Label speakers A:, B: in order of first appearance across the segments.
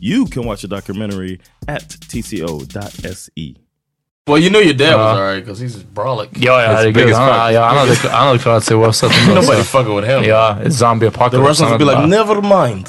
A: You can watch the documentary at tco.se.
B: Well, you knew your dad
C: Uh-huh.
B: was alright because he's just brolic.
C: Ja, ja,
B: He's
C: herregud.
B: big as
C: Han,
B: fuck.
C: har- ja, han, hade, han hade klarat sig oavsett. om det var
B: Nobody
C: så.
B: fucking with him.
C: Ja, ett zombie
A: The
C: apocalypse.
A: Russians
C: han
A: would be
C: hade
A: like,
C: bara-
A: never mind.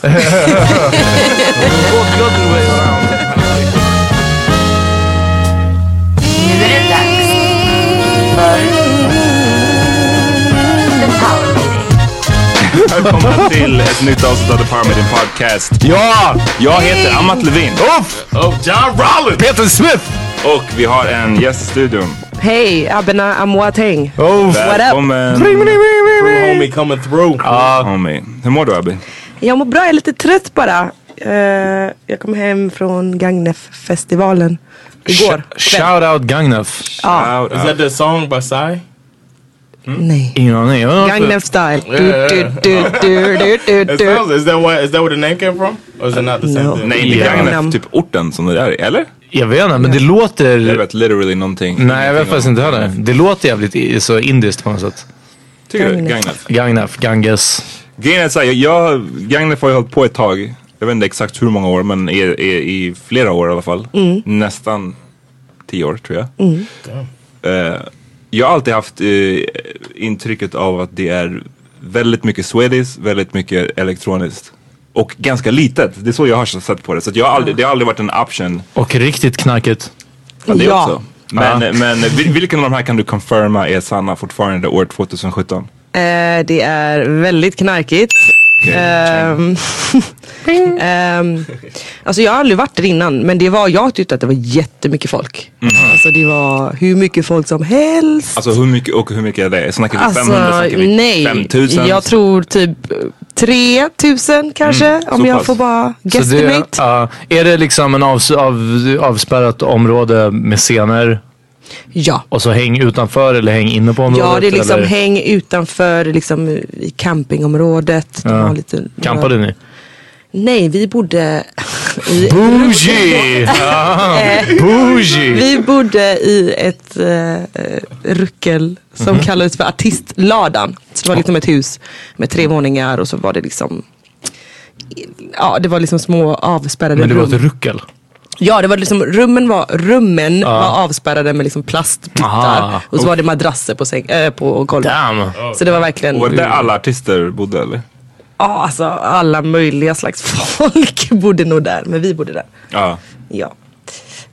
D: Välkomna till ett nytt avsnitt av The Power Meeting Podcast.
C: Ja!
D: Jag heter Amat Levin
C: Uff!
B: Oh, John Rollins!
C: Peter Smith!
D: och vi har en gäst i studion.
E: Hej, Abena Amwateng.
C: Uff!
D: Oh. Välkommen
A: True homie coming through.
D: homie. Hur mår du Abby?
E: Jag mår bra, jag är lite trött bara. Eh, jag kom hem från Gagnef-festivalen igår.
C: Sh- Shout out Gagnef.
E: Ja.
A: Is that the song by Psy?
E: Nej.
C: Ingen aning. Jag vet inte.
E: Gagnef style.
B: Yeah,
E: Du, du, du, du, du, du,
A: It
E: du.
A: sounds, is that why? Is that where the name came from? Or is it not the same
E: No.
A: thing?
D: Nej, inte
C: Ja.
D: Gagnef, typ orten som det är i, eller?
C: Jag vet inte, men det låter...
D: Jag vet literally någonting.
C: Nej, jag vet faktiskt inte heller. Det låter jävligt i- så indiskt på något sätt.
D: Tycker du?
E: Gagnef.
D: Gagnef.
C: Gagnef, Ganges.
D: Grejen är såhär, jag, jag, Gagnef har ju hållit på ett tag. Jag vet inte exakt hur många år, men i, i, i flera år i alla fall. Nästan tio år tror jag. Eh, jag har alltid haft eh, intrycket av att det är väldigt mycket Swedish, väldigt mycket elektroniskt. Och ganska litet. Det är så jag har sett på det. Så att jag har aldrig, det har aldrig varit en option.
C: Och riktigt knackigt.
D: Ja, det
E: Ja.
D: också. Men,
C: Ja.
D: men vil- vilken av de här kan du confirma är sanna fortfarande år 2017?
E: Eh, det är väldigt knarkigt. Ehm, ehm, alltså jag har aldrig varit där innan men det var, jag tyckte att det var jättemycket folk. Alltså det var hur mycket folk som helst.
D: Alltså hur mycket och hur mycket är det? Snackar vi
E: Alltså
D: 500? Snackar vi
E: nej,
D: 5000?
E: jag tror typ 3000 kanske
D: Mm,
E: om
D: så
E: jag
D: pass.
E: får bara
C: Så det,
E: guesstimate.
C: ja, är det liksom en avs, av, avspärrat område med scener
E: ja.
C: och så häng utanför eller häng inne på området?
E: Ja, det är liksom
C: eller?
E: häng utanför liksom, i campingområdet. De har lite,
C: Campade ni?
E: Nej, vi bodde i,
C: Bougie! Ah, Bougie!
E: vi bodde i ett eh, eh, ruckel som
C: Mhm.
E: kallades för artistladan. Så det var liksom ett hus med tre våningar och så var det liksom Ja, det var liksom små avspärrade
C: Men det var
E: rum.
C: ett ruckel.
E: Ja, det var liksom rummen var, rummen var avspärrade med liksom plastpyttar.
C: Ah.
E: Och så var det madrasser på, säng, äh, på golvet.
C: Damn!
E: Så det var verkligen...
D: Och där alla artister bodde eller?
E: Ja, alltså alla möjliga slags folk bodde nog där, men vi bodde där.
D: Ja.
E: Ja.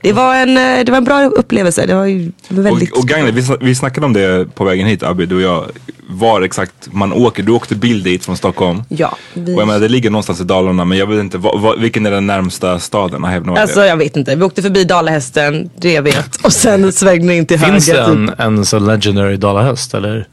E: Det var en, eh, det var en bra upplevelse. Det var ju väldigt...
D: Och, och Gagne, vi, sna- vi snackade om det på vägen hit Abby, du och jag. Var exakt man åker. Du åkte bil dit från Stockholm.
E: ja, vi...
D: Och jag menar det ligger någonstans i Dalarna men jag vet inte, vad- vad- vilken är den närmsta staden? I have no
E: Alltså
D: idea.
E: jag vet inte. Vi åkte förbi Dalahästen, det jag vet. Och sen svängde in till
C: Finns det
E: höger. typ
C: en, en sån legendary dalahäst eller?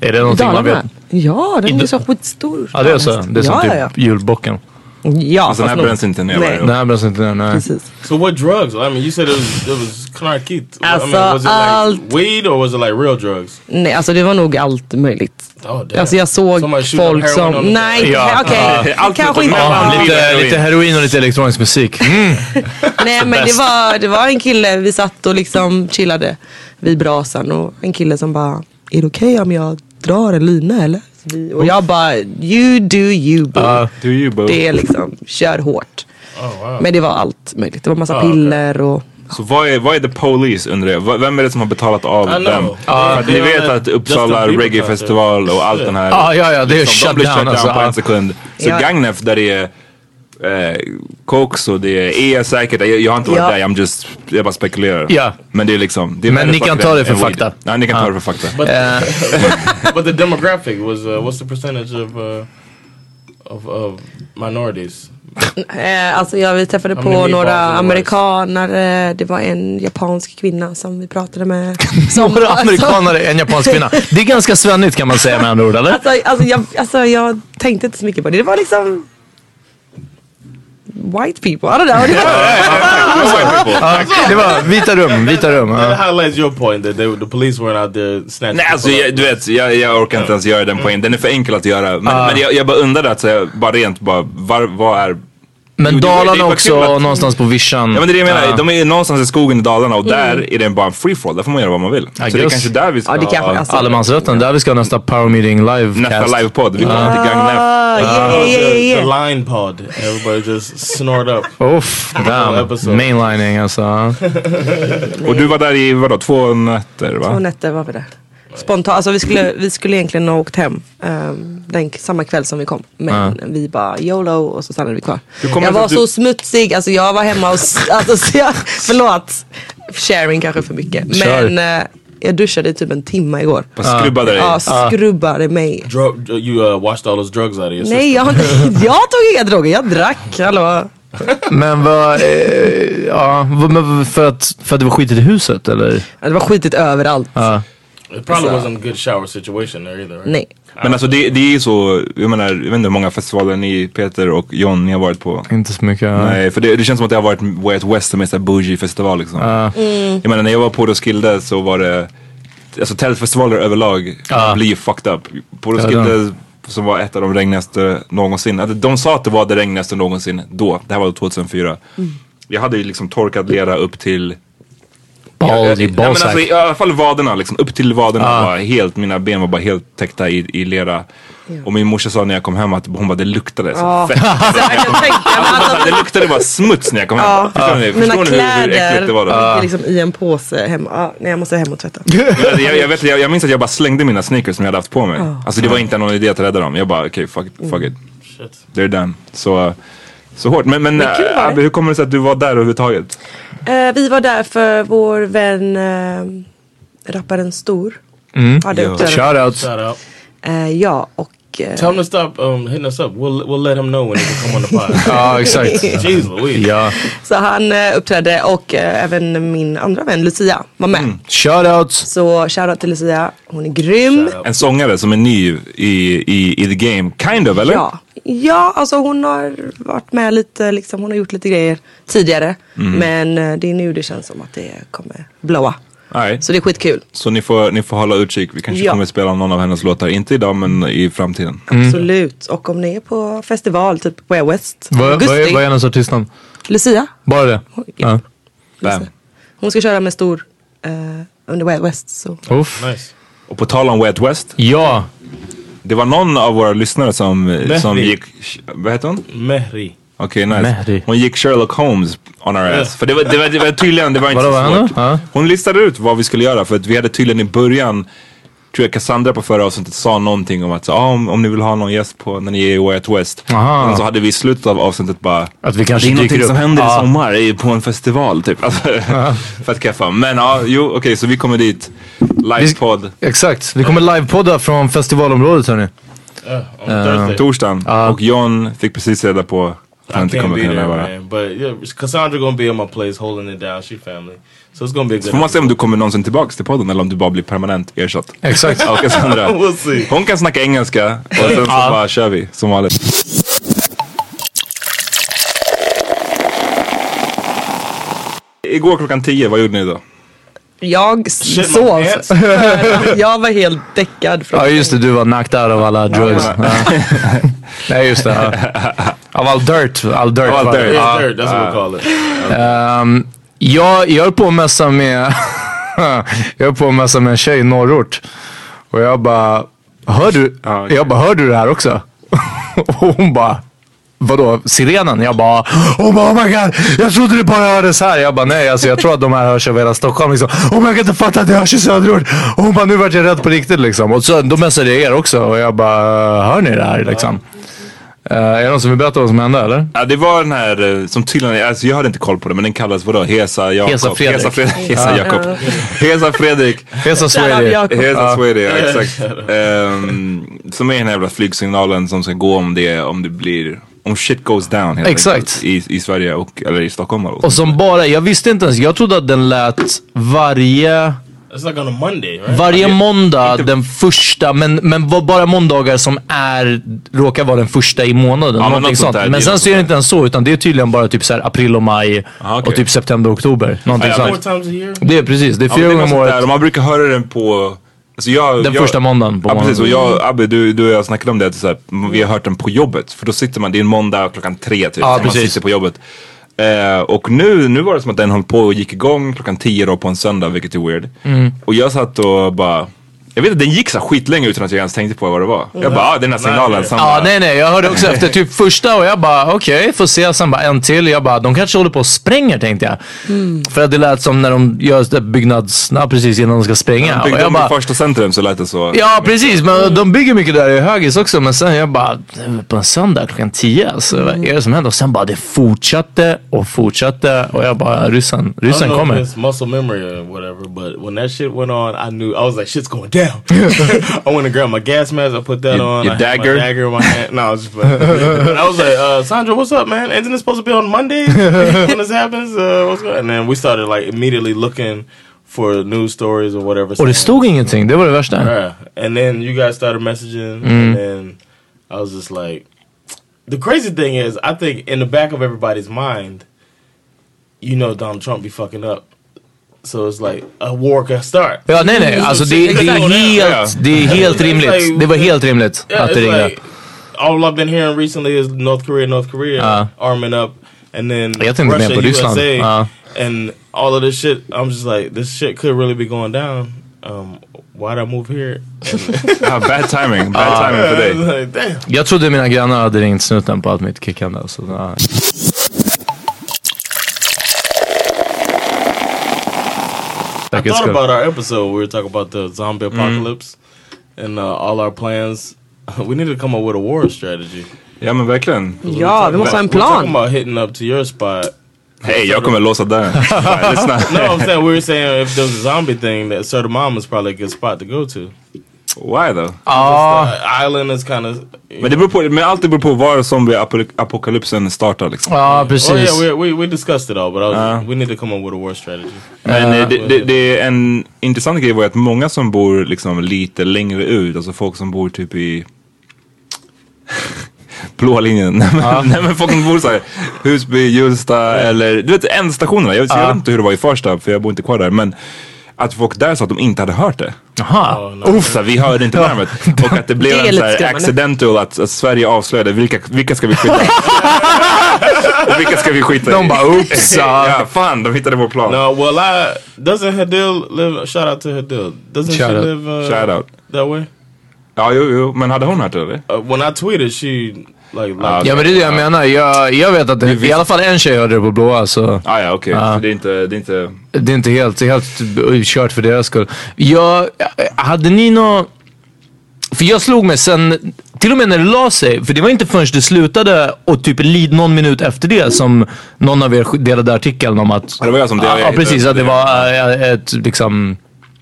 C: Är det någonting man vet?
E: Ja, den är
C: Inte-
E: så skitstor.
C: Ja det är så. Det är som
E: ja,
C: typ
E: ja,
C: julbocken.
E: ja. ja
D: Alltså den här
E: fast nog-
D: bränns inte ner
E: Nej.
D: varje
C: Den här bränns inte ner, nej.
E: Precis.
A: So what drugs? I mean, you said it was it was Knarkit. I
E: Alltså,
A: mean, was it
E: allt-
A: like weed or was it like real drugs?
E: Nej, alltså det var nog allt möjligt.
A: Oh, damn.
E: Alltså jag såg
A: Somebody shoot up
E: folk
A: heroin on
E: som...
A: the-
E: Nej,
C: Ja.
E: okej.
D: Allt
E: Kanske
D: utom-
E: inte.
D: Ja,
E: var-
D: lite-
C: Lite,
D: heroin.
C: lite heroin och lite elektronisk musik. Mm.
E: Nej men det
C: Bäst.
E: var, det var en kille, vi satt och liksom chillade vid brasan och en kille som bara, är det okej om jag drar en lina eller? Så vi- Och jag bara, you do you boo.
C: Ja.
D: Do you boo?
E: Det är liksom, kör hårt.
A: Oh,
E: Men det var allt möjligt, det var
A: Ah,
E: massa piller och
D: Så vad är, vad är the police undrar jag? Vad- Vem är det som har betalat av
A: I know.
D: vem?
A: Ja,
D: För
A: det
D: ni
A: är
D: vet
A: alla
D: att Uppsala
A: Justin Bieber
D: reggae-festival och allt den här. liksom,
C: Ja, ja, ja, det är
D: de
C: shut
D: blir shut
C: down,
D: down
C: alltså,
D: på
C: ja.
D: en sekund. Så
E: Ja.
D: Gagnef där det är eh, Koks och det är E säkert. Jag, jag har inte varit
E: Ja.
D: där, I'm just, jag bara spekulerar.
C: Ja.
D: Men det är liksom. Det är
C: Men
D: värre
C: ni kan
D: saker
C: ta
D: än-
C: det för
D: än weed.
C: fakta.
D: Ja, ni kan ta
C: Ja.
D: det för fakta.
A: But, but the demographic was uh, what's the percentage of uh, of, of minorities?
E: Eh, alltså jag, vi träffade
A: men det
E: på
A: är
E: några
A: bara-
E: amerikanare, det var en japansk kvinna som vi pratade med. Som,
C: Några amerikanare, en japansk kvinna. Det är ganska svennigt kan man säga med andra ord, eller?
E: Alltså, alltså, alltså, jag, alltså jag tänkte inte så mycket på det, det var liksom White people, I don't know. Det var,
C: Ja, det var vita rum, vita rum.
A: That
C: Ja.
A: highlights your point that they, the police weren't out there snatching.
D: Nej alltså
A: people
D: jag,
A: up.
D: du vet, jag, jag orkar inte ens göra den poängen. Den är för enkel att göra. Men, men jag, jag bara undrar alltså, jag, bara rent bara, var, vad är...
C: Men
D: Jo, det var- det
C: Dalarna
D: var
C: också
D: kul att-
C: och någonstans på vischan.
D: Ja men det är det jag menar,
C: Mm. Ja.
D: de är någonstans i skogen i Dalarna och där är det bara en free fall. Där får man göra vad man vill. Så det är
C: guess.
D: kanske där vi ska
E: Mm. Ja, det kanske-
D: ha
E: alltså-
C: Allemansrätten, där vi ska ha nästa power meeting live
D: nästa
C: cast.
D: livepodd. Vi kommer till Gagnef.
E: Oh, Ah, yeah, yeah, yeah,
A: Uh, The,
E: yeah.
A: the line pod. Everybody just snort up.
C: Uff, damn.
A: Episode.
C: Mainlining alltså.
D: Och du var där i vadå, två nätter va?
E: Två nätter var vi där. Spontant, alltså vi skulle, vi skulle egentligen ha åkt hem ehm, den, samma kväll som vi kom. Men vi bara YOLO och så stannade vi kvar.
D: kommer
E: Jag
D: ihåg
E: var
D: att du-
E: så smutsig, alltså jag var hemma och... s- Alltså, så jag, förlåt, sharing kanske för mycket.
C: Kör.
E: Men eh, jag duschade i typ en timme igår.
D: Bara skrubbade dig.
E: Ja, skrubbade mig.
A: Drug, you uh, washed all those drugs out of your
E: Nej, jag, har inte- jag tog inga droger, jag drack. Hallå.
C: Men vad, eh, ja, vad- men för att, för att det var skitigt i huset eller?
E: Ja, Det var skitigt överallt.
C: Ja.
A: system. It probably wasn't a good shower situation there either. Right?
E: Nej.
D: Men alltså det, det är ju så, jag menar, jag vet inte hur många festivaler ni, Peter och John, ni har varit på.
C: Inte så mycket. ja.
D: Nej, för det, det känns som att det har varit Way Out West som är en sån här bougie festival liksom. Jag menar när jag var på Roskilde så var det, alltså tältfestivaler överlag
C: Ja.
D: blir ju fucked up. På Roskilde som var ett av de regnigaste någonsin, Alltså, de sa att det var det regnigaste någonsin då, det här var 2004. Jag hade ju liksom torkad lera upp till
C: Ball
D: Nej,
C: i
D: men alltså,
C: ballsack.
D: I alla fall vaderna, liksom, upp till vaderna. Var helt, mina ben var bara helt täckta i, i lera. Och min morsa sa när jag kom hem att hon bara, det luktade så fett.
E: Jag tänkte,
D: Alltså, det luktade bara smuts när jag kom hem. Förstår ni,
E: mina
D: Förstår ni hur, hur äckligt det var
E: kläder
D: då?
E: ligger liksom i en påse hemma. Ah, nej, jag måste hem och tvätta.
D: Jag, alltså, jag, jag, vet, jag, jag minns att jag bara slängde mina sneakers som jag hade haft på mig. Alltså det var inte någon idé att rädda dem. Jag bara, okej, fuck,
E: Mm.
D: it, fuck it.
A: Shit.
D: They're done. Så, så hårt. Men, men,
E: kul var det.
D: äh, Abbe, hur kommer det sig att du var där överhuvudtaget?
E: Eh, vi var där för vår vän eh, rapparen Stor. Mm. Hade
D: Ja.
E: uppträdande.
C: Shout out.
A: Shout out.
E: Eh, ja, och Och, eh,
B: Tell him to stop um, hitting us up. We'll we'll let him know when he can come on the pod.
C: Ja, exakt.
B: Jeez Louise.
C: ja.
E: så han eh, uppträdde och eh, även min andra vän Lucia var med.
D: Mm.
C: Shoutouts!
E: Så shoutout till Lucia, hon är grym.
D: En sångare som är ny i, i, i the game, kind of, eller?
E: Ja. ja, alltså hon har varit med lite, liksom, hon har gjort lite grejer tidigare.
D: Mm.
E: Men eh, det är nu det känns som att det kommer blåa.
D: All right.
E: Så det är skitkul.
D: Så ni får, ni får hålla utkik. Vi kanske
E: Ja.
D: kommer spela någon av hennes låtar. Inte idag men i framtiden.
C: Mm.
E: Absolut. Och om ni är på festival, typ på Way West,
C: Vad vad
E: augusti,
C: är, vad är hennes artistnamn?
E: Lucia,
C: Bara det? Ja.
D: Bam.
E: hon ska köra med stor eh, under Way West. Så.
C: Uff.
B: Nice.
D: Och på tal om Wet West.
C: Ja,
D: Det var någon av våra lyssnare som, som
B: Mehdi.
D: gick... Vad heter hon?
B: Mehri.
D: Okej, nice.
C: Mehdi.
D: Hon gick Sherlock Holmes on our ass. För det var, det var, typ det var tydligen, det var inte
C: Vadå, vad
D: så
C: hände?
D: svårt.
C: Ja.
D: Hon listade ut vad vi skulle göra för att vi hade tydligen i början Tror jag Cassandra på förra avsnittet sa någonting om att så, ah, om, om ni vill ha någon gäst på när ni är i Way Out West.
C: Aha.
D: Men så hade vi i slutet av avsnittet bara
C: Att vi kanske
D: Det är någonting
C: dyker upp.
D: som händer i
C: Ja.
D: sommar i- på en festival typ. Alltså, för att keffa. Men ja, jo okej så vi kommer dit. Livepodd.
C: exakt. Vi kommer livepodda från festivalområdet hörni.
B: Uh, on Thursday.
D: Torsdagen.
C: Eh. Ja.
D: Och John fick precis reda på att han
B: I
D: inte
B: can't
D: kommer
B: be
D: kunna
B: there,
D: närvara.
B: man. But yeah, Cassandra gonna be at my place holding it down. She family, so it's gonna be a good.
D: Så får man se om du kommer någonsin tillbaks till podden eller om du bara blir permanent ersatt.
C: Exakt.
D: Och Cassandra.
B: We'll see.
D: Hon kan snacka engelska och sen så bara kör vi som vanligt. Igår klockan 10, vad gjorde ni då?
E: Jag s-
B: Shit, my
E: sov.
B: pants.
E: jag var helt däckad. Från
C: Ja just det, du var knocked out av alla drugs. Ja. Nej just det. Ja. Av all dirt. All dirt.
D: Av all
C: var det.
D: dirt.
C: Ja.
B: Yeah, third, that's what we call it.
C: Ehm, jag, jag höll på att mässa med Jag höll på att mässa med en tjej i norrort. Och jag bara, hör du,
D: Ja, okej.
C: jag bara, hör du det här också? och hon bara, vadå, sirenen? Jag bara, hon bara, oh my god, jag trodde det bara hördes här. Jag bara, nej alltså jag tror att de här hörs över hela Stockholm liksom. Oh my god, jag kan inte fatta att det hörs i söderort. Och hon bara, nu vart jag rädd på riktigt liksom. Och så, då mässade jag er också och jag bara, hör ni det här liksom? Eh, är det någon som vill berätta vad som hände eller?
D: Ja, det var den här eh, som tydligen, alltså jag hade inte koll på det men den kallas vadå? Hesa Jakob?
C: Hesa Fredrik.
D: Hesa, Fred- Hesa Jakob. Hesa Fredrik.
C: Hesa Swedi.
E: Jakob.
D: Hesa Swedi, ja exakt. Ehm, som är den här jävla flygsignalen som ska gå om det, om det blir, om shit goes down helt
C: Exakt.
D: enkelt. I, I Sverige och, eller i Stockholm. Och
C: Och som bara, jag visste inte ens, jag trodde att den lät varje,
B: It's like on a Monday, right?
C: varje måndag
D: inte-
C: den första, men, men var bara måndagar som är, råkar vara den första i månaden.
D: men
C: någonting
D: något sånt
C: sånt.
D: där, det är
C: men sen
D: något
C: så är det
D: sånt
C: inte ens så, utan det är tydligen bara typ så här april och maj
D: Ah, okej.
C: och typ september och oktober. Någonting
D: Ja, ja,
B: Four
C: sånt.
B: times a year.
C: Det är precis, det är
D: Ja, men
C: fyra
D: det är något
C: gånger om
D: sånt
C: året.
D: där. Och Man brukar höra den på... Alltså jag,
C: Den
D: jag,
C: första måndagen på
D: Ja precis och
C: månaden.
D: jag, Abbe du, du och jag snackade om det. Att så här, vi har hört den på jobbet. För då sitter man, det är en måndag klockan tre typ.
C: Ja,
D: så man
C: precis.
D: sitter på jobbet. Eh, och nu, nu var det som att den höll på och gick igång klockan tio då på en söndag vilket är weird.
C: Mm.
D: Och jag satt och bara jag vet inte, den gick så här skitlänge utan att jag ens tänkte på vad det var.
E: Mm.
D: Jag bara, ah, den här signalen.
B: Nej.
D: sen
C: Ja,
D: bara-
C: nej, nej. Jag hörde också efter typ första och jag bara okej, får se. Sen bara en till. Jag bara, de kanske håller på och spränger tänkte jag.
D: Mm.
C: För att det lät som när de gör det byggnads... Ja, precis innan de ska spränga.
D: De
C: Och
D: byggde
C: jag
D: om
C: bara,
D: i första centrum så lät det så.
C: Ja precis, men de bygger mycket där i högis också. Men sen jag bara, på en söndag klockan 10, alltså,
D: Mm.
C: vad är det som händer? Och sen bara det fortsatte och fortsatte och jag bara, ryssen,
B: I don't
C: ryssen
B: know if
C: kommer.
B: it's muscle memory or whatever, but when that shit went on, I knew I was like, "Shit's going down." I went and grabbed my gas mask. I put that
D: Your-
B: on.
D: your
B: I had
D: dagger?
B: my dagger in my hand. No, I was just. but I was like, uh, "Sandra, what's up, man? Isn't it supposed to be on Monday when this happens? Uh, what's going?" And then we started like immediately looking for news stories or whatever.
C: Och
B: saying-
C: det stod ingenting, det var det värsta.
B: Yeah. And then you guys started messaging, and then I was just like, the crazy thing is, I think in the back of everybody's mind, you know Donald Trump be fucking up. So it's like a war can start.
C: Ja, nej nej, alltså det, det, är, helt, det är helt rimligt. Det var helt rimligt
B: Yeah,
C: att
B: it's
C: det ringde.
B: like, all I've been hearing recently is North Korea, North Korea
C: Uh.
B: arming up, and then
C: Jag tänkte mer
B: Russia,
C: på Ryssland.
B: USA,
C: Uh.
B: and all of this shit. I'm just like, this shit could really be going down. Um, why'd I move here?
D: Ah, bad timing,
C: Uh,
D: bad timing för dig.
B: I was like, damn.
C: Jag trodde mina grannar hade ringt snuten på allt mitt kickande. Så, ja.
B: I thought about our episode. We were talking about the zombie
D: Mm-hmm.
B: apocalypse and uh, all our plans. We need to come up with a war strategy.
D: Ja men verkligen.
E: Ja, vi måste ha en
B: We're talking
E: plan.
B: about hitting up to your spot.
D: Hej, jag kommer låsa dörren. Bara, Lyssna.
B: No, I'm saying we were saying if there's a zombie thing, that Sir Mom is probably a good spot to go to.
D: Why though?
C: Ja,
B: Island is kind of.
D: Men det beror på, men allt det beror på var zombieapokalypsen startar liksom.
C: ja
B: Oh
C: precis.
B: yeah, we, we we discussed it all, but I was,
D: Uh-huh.
B: we need to come up with a war strategy.
D: Men eh, det, det, det är en intressant grej var ju att många som bor liksom lite längre ut, alltså folk som bor typ i blåa linjen. Nej, men, nej men folk som bor såhär Husby, Hjulsta eller du vet ändstationerna. Jag, jag vet inte hur det var i Farsta för jag bor inte kvar där men att folk där sa att de inte hade hört det.
C: Jaha.
D: Uff, så här, vi hörde inte larmet. Och att det blev
E: Det
D: en
E: är
D: så
E: lite
D: här
E: skrämmande.
D: accidental att, att Sverige avslöjade vilka, vilka ska vi skita i? Och vilka ska vi skita i?
C: De bara oops.
D: ja, fan, de hittade vår plan.
B: No, well, I doesn't Hadil live? Shout out to Hadil. Doesn't
C: Shout
B: she
C: out.
B: live uh,
D: Shout out.
B: that way?
D: Ja, jo, jo, men hade hon hört det eller?
B: Uh, when I tweeted, she like
D: Oh,
B: liked
C: Ja men det är det jag menar. Jag, jag vet att det, i alla fall en tjej hörde det på blåa så
D: Ah, ja, okej. Så det är inte, det är inte...
C: det är inte helt, det är helt kört för deras skull. Jag, hade ni någon... För jag slog mig sen, till och med när det la sig, för det var inte förrän det slutade och typ li- någon minut efter det som någon av er sk- delade artikeln om att...
D: Ja, det var jag som delade.
C: Ja, ja precis. Att det var äh, ett liksom...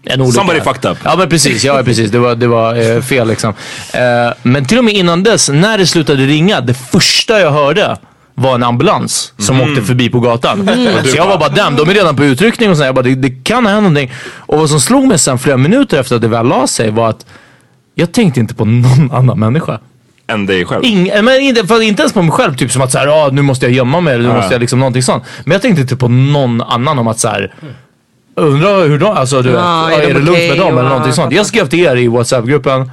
C: En olycka.
D: Somebody fucked up.
C: Ja men precis, ja precis. Det var, det var eh, fel liksom. Eh, men till och med innan dess, när det slutade ringa, det första jag hörde var en ambulans som
D: Mm.
C: åkte förbi på gatan. Så jag var bara damn, de är redan på utryckning och sådär. Jag bara, det, det kan ha hänt någonting. Och vad som slog mig sen flera minuter efter att det väl la sig var att jag tänkte inte på någon annan människa.
D: Än dig själv.
C: Ing, eh, men inte, för inte ens på mig själv, typ som att såhär, ah, nu måste jag gömma mig eller nu
D: Ja.
C: måste jag liksom någonting sånt. Men jag tänkte inte på någon annan om att såhär, undrar hur de, alltså du vet,
E: Ja,
C: ah,
E: är
C: är,
E: de
C: det lugnt
E: okej
C: med dem
E: och-
C: eller någonting sånt. Jag skrev till er i WhatsApp-gruppen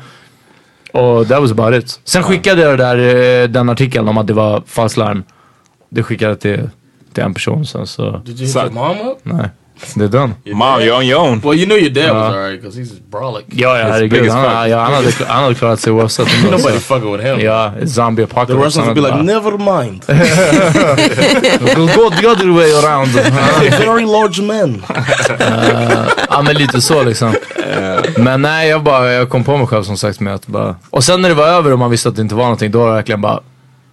C: och that was about it. Sen skickade jag det där, eh, den artikeln om att det var falskt larm. Det skickade jag till, till en person sen så,
B: Did you hit
D: Suck.
B: your mom up?
C: nej. Det är den.
D: Mom, you're on your own.
B: Well, you knew your dad was alright because he's brolic.
C: Ja, ja
D: big
C: herregud.
D: as
C: Han,
D: fuck.
C: ja, han, hade, han hade klarat sig oavsett. om det var så.
B: Nobody fucking with him.
C: Ja, zombie apocalypse.
B: The Russians
C: Han
B: would be
C: hade
B: like, never
C: bara,
B: mind.
C: Go the other way around.
B: Very large men.
C: Eh, Ja men lite så liksom. Men nej jag bara, jag kom på mig själv som sagt med att bara. Och sen när det var över och man visste att det inte var någonting då var det verkligen bara.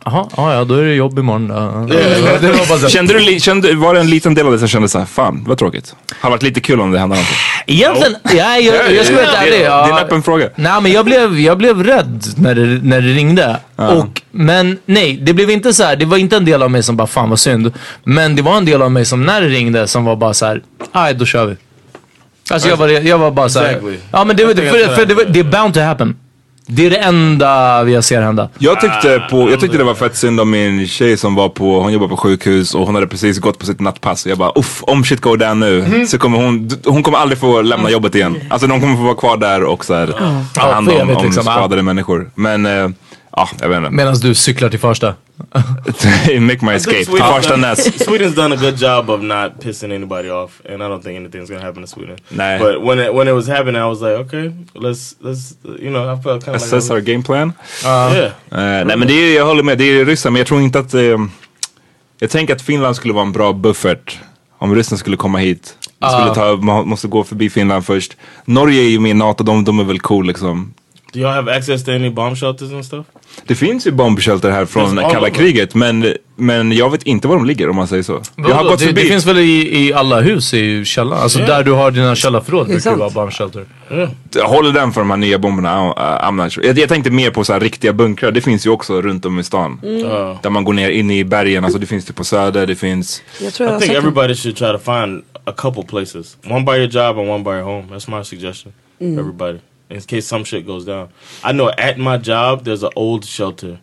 C: Jaha, ja ja då är det jobb imorgon. Ja, ja. Det var bara så. här-
D: Kände du, li- kände, var det en liten del av dig som kände såhär, fan vad tråkigt. Hade varit lite kul om det hände någonting.
C: Egentligen, nej jag, jag ska vara helt
D: Det-
C: ärlig.
D: Det är en
C: Ja,
D: öppen fråga.
C: nej men jag blev, jag blev rädd när det, när det ringde. Och, men nej, det blev inte så här. det var inte en del av mig som bara fan vad synd. Men det var en del av mig som när det ringde som var bara så här. aj då kör vi. Alltså jag var, jag var bara såhär.
B: Exactly.
C: Ja men det, var- för, för det, var- det är bound to happen. Det är det enda jag ser hända.
D: Jag tyckte, på, jag tyckte det var fett synd om min tjej som var på, hon jobbar på sjukhus och hon hade precis gått på sitt nattpass. Jag bara uff, om shit går down nu
C: Mhm.
D: så kommer hon, d- hon kommer aldrig få lämna jobbet igen. Alltså de kommer få vara kvar där och så här, ta
C: Ja,
D: hand
C: för
D: om,
C: evigt
D: om
C: liksom, ja.
D: skadade människor. Men eh, ja, jag vet inte.
C: Medan du cyklar till första.
D: Make my escape. Till Farsta Näs.
B: Sweden's done a good job of not pissing anybody off, and I don't think anything's gonna happen to Sweden.
D: Nah.
B: But when it when it was happening, I was like, okay, let's let's you know, I felt kind of like I
D: Assess our
B: was-
D: game plan.
B: yeah.
D: Eh, nej men det är, jag håller med, det är Ryssland men jag tror inte att... eh, jag tänker att Finland skulle vara en bra buffert om Ryssland skulle komma hit. Man skulle ta, man måste gå förbi Finland först. Norge är ju med i NATO, de, de är väl cool liksom.
B: Do y'all have access to any bomb shelters and stuff?
D: Det finns ju bombshelter här från
B: Finns alla
D: kalla
B: då?
D: kriget men, men jag vet inte var de ligger om man säger så. Jag har gått
C: det,
D: förbi.
C: det finns väl i, i alla hus i källaren? Alltså
B: Ja.
C: där du har dina källarförråd brukar det
E: sant.
C: vara bomb shelter.
D: Jag håller den för de här nya bomberna. Uh, I'm not sure. jag, jag tänkte mer på så här riktiga bunkrar, det finns ju också runt om i stan.
B: Uh,
D: Där man går ner in i bergen, alltså det finns det på söder, det finns...
E: Jag tror
B: I
E: jag har
B: think
E: sett den.
B: everybody should try to find a couple places. One by your job and one by your home. That's my suggestion. Everybody. In case some shit goes down. I know at my job there's an old shelter.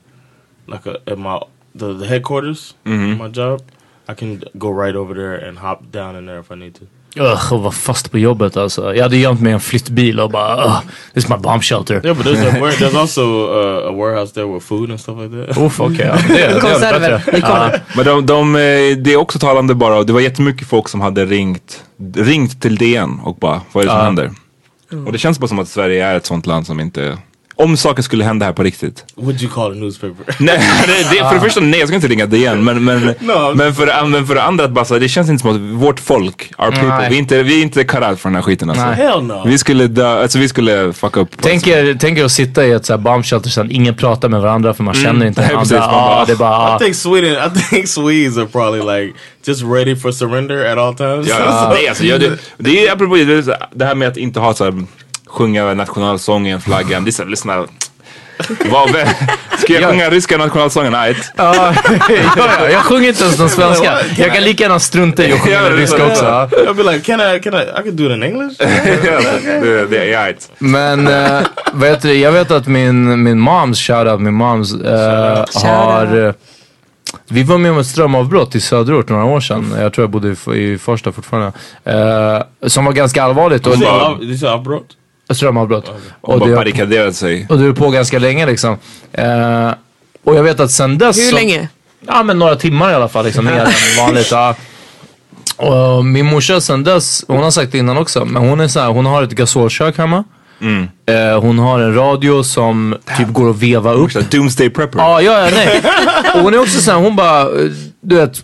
B: Like a, at my the, the headquarters of my job. I can go right over there and hop down in there if I need to.
C: Ugh, och vara fast på jobbet alltså. Jag hade gömt mig i en flyttbil och bara ugh, this is my bomb shelter.
B: Yeah, but there's a ware- there's also uh, a warehouse there with food and stuff like that. Uh,
C: Uff, okej. ja. Det, det är
E: Konserver.
C: bättre.
E: Vi kommer.
D: Men de, de, eh, det är också talande bara, och det var jättemycket folk som hade ringt, ringt till DN och bara, vad är det som
C: Ja.
D: händer? Och det känns bara som att Sverige är ett sånt land som inte, om saker skulle hända här på riktigt.
B: Would you call a newspaper? Uh,
D: Nej, det, det, för
C: Ah.
D: det första, nej jag ska inte ringa DN, men, men,
B: No.
D: men, för, det- men för det andra, att bara, så här, det känns inte som att vårt folk, our people,
C: Nej.
D: vi är, inte, vi är inte cut out för den här skiten alltså.
C: Nej.
B: Hell no.
D: Vi skulle dö, alltså vi skulle fucka upp.
C: Tänk er, tänk er att sitta i ett så här bomb shelter sen ingen pratar med varandra för man känner inte
D: Mm. nej, precis,
C: varandra.
D: man
C: Ja,
D: bara-
C: det är bara,
B: I
C: ah.
B: think Sweden. I think Swedes are probably like just ready for surrender at all times.
D: alltså, Ja, alltså, nej, alltså, jag, det, det är apropå det, det här med att inte ha så här sjunga nationalsången, flaggan. Dessa, lyssna. Vad, vem- ska jag sjunga ryska nationalsången? Nej.
C: Ja, ja, jag sjunger inte ens den svenska. Jag kan lika gärna strunta i att sjunga den ryska också. ja.
B: I'll be like, can I, can I, I could do it in English?
D: Det- det är ajt.
C: Men eh, vet du, jag vet att min, min moms, shoutout min moms, eh, har... eh, Vi var med om ett strömavbrott i söderort några år sedan. Jag tror jag bodde i, F- i första fortfarande. Eh, som var ganska allvarligt. Och,
B: Did you say I- did you say I brought?
C: strömavbrott.
D: Hon
C: Och
D: bara
C: det,
D: barrikaderade sig.
C: och det höll på ganska länge liksom. Eh, och jag vet att sen dess...
E: Hur
C: så-
E: länge?
C: Ja men några timmar i alla fall, liksom, mer än vanligt. Ja. Och min morsa sen dess, hon har sagt det innan också, men hon är så här, hon har ett gasolkök hemma.
D: Mm.
C: Eh, hon har en radio som typ går att veva upp.
D: Så här, Doomsday prepper.
C: Ja, ja, ja, nej. Och hon är också såhär, hon bara, eh, du vet,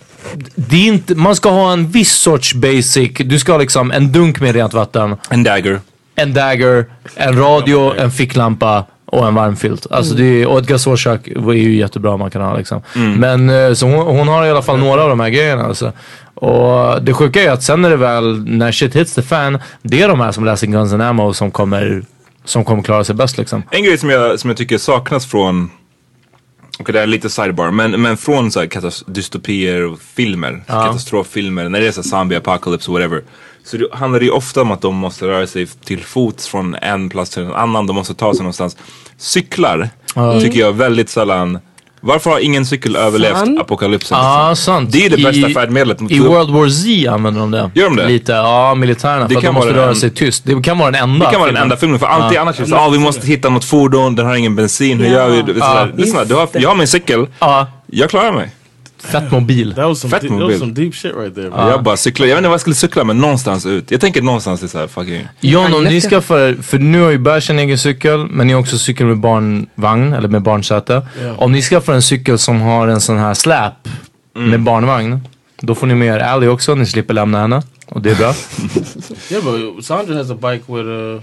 C: det är inte, man ska ha en viss sorts basic, du ska ha liksom en dunk med rent vatten
D: En dagger.
C: en dagger, en radio, en ficklampa och en varmfilt. Alltså det är, och ett gasolkök är ju jättebra man kan ha liksom.
D: Mm.
C: Men eh, så hon, hon har i alla fall några av de här grejerna alltså. Och det sjuka är att sen när det väl, när shit hits the fan, det är de här som läser Guns N' Ammo som kommer, som kommer klara sig bäst liksom.
D: En grej som jag, som jag tycker saknas från, okej det här är lite sidebar, men, men från så här katas- dystopier och filmer, katastroffilmer, när det är så här zombie apocalypse och whatever. Så det handlar det ju ofta om att de måste röra sig till fots från en plats till en annan, de måste ta sig någonstans. Cyklar
C: Mm.
D: tycker jag väldigt sällan, varför har ingen cykel överlevt
E: Fan.
D: apokalypsen?
C: Ja, sant.
D: Det är det bästa
C: I-
D: färdmedlet mot
C: I World War Z använder de det.
D: Gör de det?
C: Lite, ja militärerna.
D: Det
C: för att
D: kan
C: de måste
D: vara
C: röra
D: en-
C: sig tyst. Det kan vara den enda.
D: Det kan vara den
C: filmen.
D: enda filmen för alltid annars är det så, ah, vi måste hitta något fordon, den har ingen bensin, hur
E: Ja.
D: gör vi? Du vet, så här,
C: Ja.
D: Lyssna, du har, jag har min cykel,
C: Ja,
D: jag klarar mig.
C: fett mobil.
B: That was some,
D: Fett
B: deep, that
D: mobil.
B: was some deep shit right there. bro.
D: Jag bara cyklar, jag vet inte vad jag skulle cykla men någonstans ut. Jag tänker någonstans till såhär fucking...
C: John, om
E: Agnes
C: ni
E: ska-
C: skaffar, för nu har ju Bärs en egen cykel, men ni har också cykel med barnvagn, eller med barnsäte. Om ni skaffar en cykel som har en sån här släp
D: Mm.
C: med barnvagn, då får ni med er Ally också, ni slipper lämna henne. Och det är bra.
B: Yeah, but Sandra has a bike with a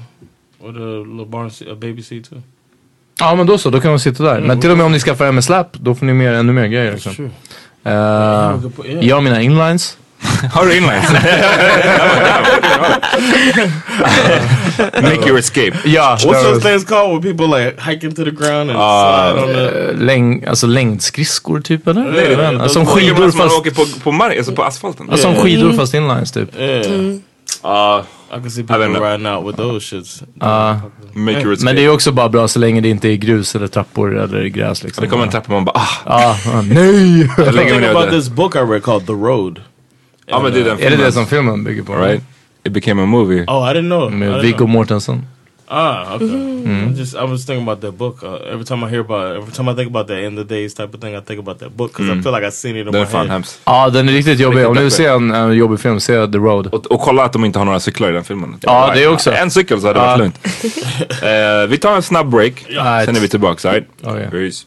B: with a little barn seat, a baby seat too.
C: ja men då så, då kan hon sitta där. Men till och med om ni skaffar en med släp, då får ni med er ännu mer grejer. Liksom.
B: true.
C: Eh,
B: good point, yeah.
C: jag har mina inlines.
D: Har du inlines? Make your escape.
C: Ja,
B: What's those things called where people like hiking to the ground
D: Ah,
B: and slide on the
C: läng, alltså längdskridskor typ eller?
B: det-
C: Jag vet inte.
B: de-
C: som
B: de-
C: skidor
D: Man
C: fast,
D: åker på, på mark, alltså på asfalten.
C: ja, som skidor fast inlines typ.
B: Yeah. Uh, I can see people
D: don't know.
B: riding out with those shits.
D: Make your escape.
C: Men det är ju också bara bra så länge det inte är grus eller trappor eller gräs liksom.
D: det kommer en trappa och man bara ah,
C: Ja, ja, nej!
D: jag lägger mig
B: Think
D: ner
B: about
D: där.
B: this book I read called The Road. uh,
D: Ja men det är
C: Är
D: den
C: det det
D: filmen.
C: som filmen bygger på?
D: Right? It became a movie.
B: Oh, I didn't know. I
C: Med
B: didn't
C: Viggo
B: know.
C: Mortensen.
B: Ah, okay.
C: Mm.
B: I just I was thinking about that book. Uh, every time I hear about, it, every time I think about that end of days type of thing, I think about that book because I feel like I've seen it in
D: Mm. Den är
B: my
D: fan
B: head.
D: hemsk.
C: Ja, Ah, den är riktigt jobbig.
D: Riktigt
C: Om du vill
D: deppig.
C: se en, en jobbig film, se The Road.
D: Och, och kolla att de inte har några cyklar i den filmen.
C: Ja, det är också.
D: En cykel så hade det varit
C: Ja.
D: lugnt. Eh, vi tar en snabb break,
C: Ja.
D: sen är vi tillbaka. Right?
C: Okej.
D: Peace.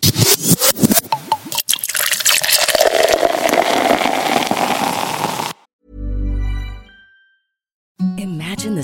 F: Imagine the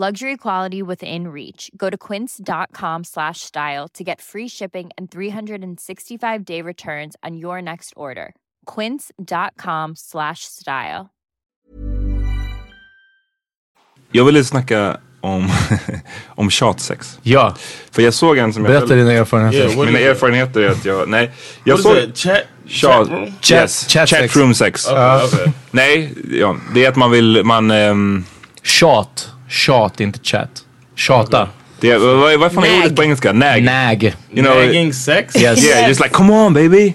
G: luxury quality within reach go to quince.com slash style to get free shipping and 365 day returns on your next order quince.com slash style
D: Jag ville snacka om, om tjatsex.
C: Ja,
D: För jag såg en som jag
C: berätta dina erfarenheter.
B: Yeah, what
D: Mina
B: is it?
D: erfarenheter är att jag, nej. Jag
B: What is
D: såg
B: that? Chat?
D: Tja-
B: Chat room?
C: Chat-
D: yes,
C: chat sex.
D: chatroom sex.
B: Okay, okay.
D: Nej, ja, det är att man vill, man, ehm,
C: Tjat. Tjat, inte chat. Tjata.
D: det, vad, vad vad fan är ordet på engelska? Nag.
C: Nag.
D: You know,
B: Nagging sex? Ah.
C: Yes.
D: Yeah, just like come on baby.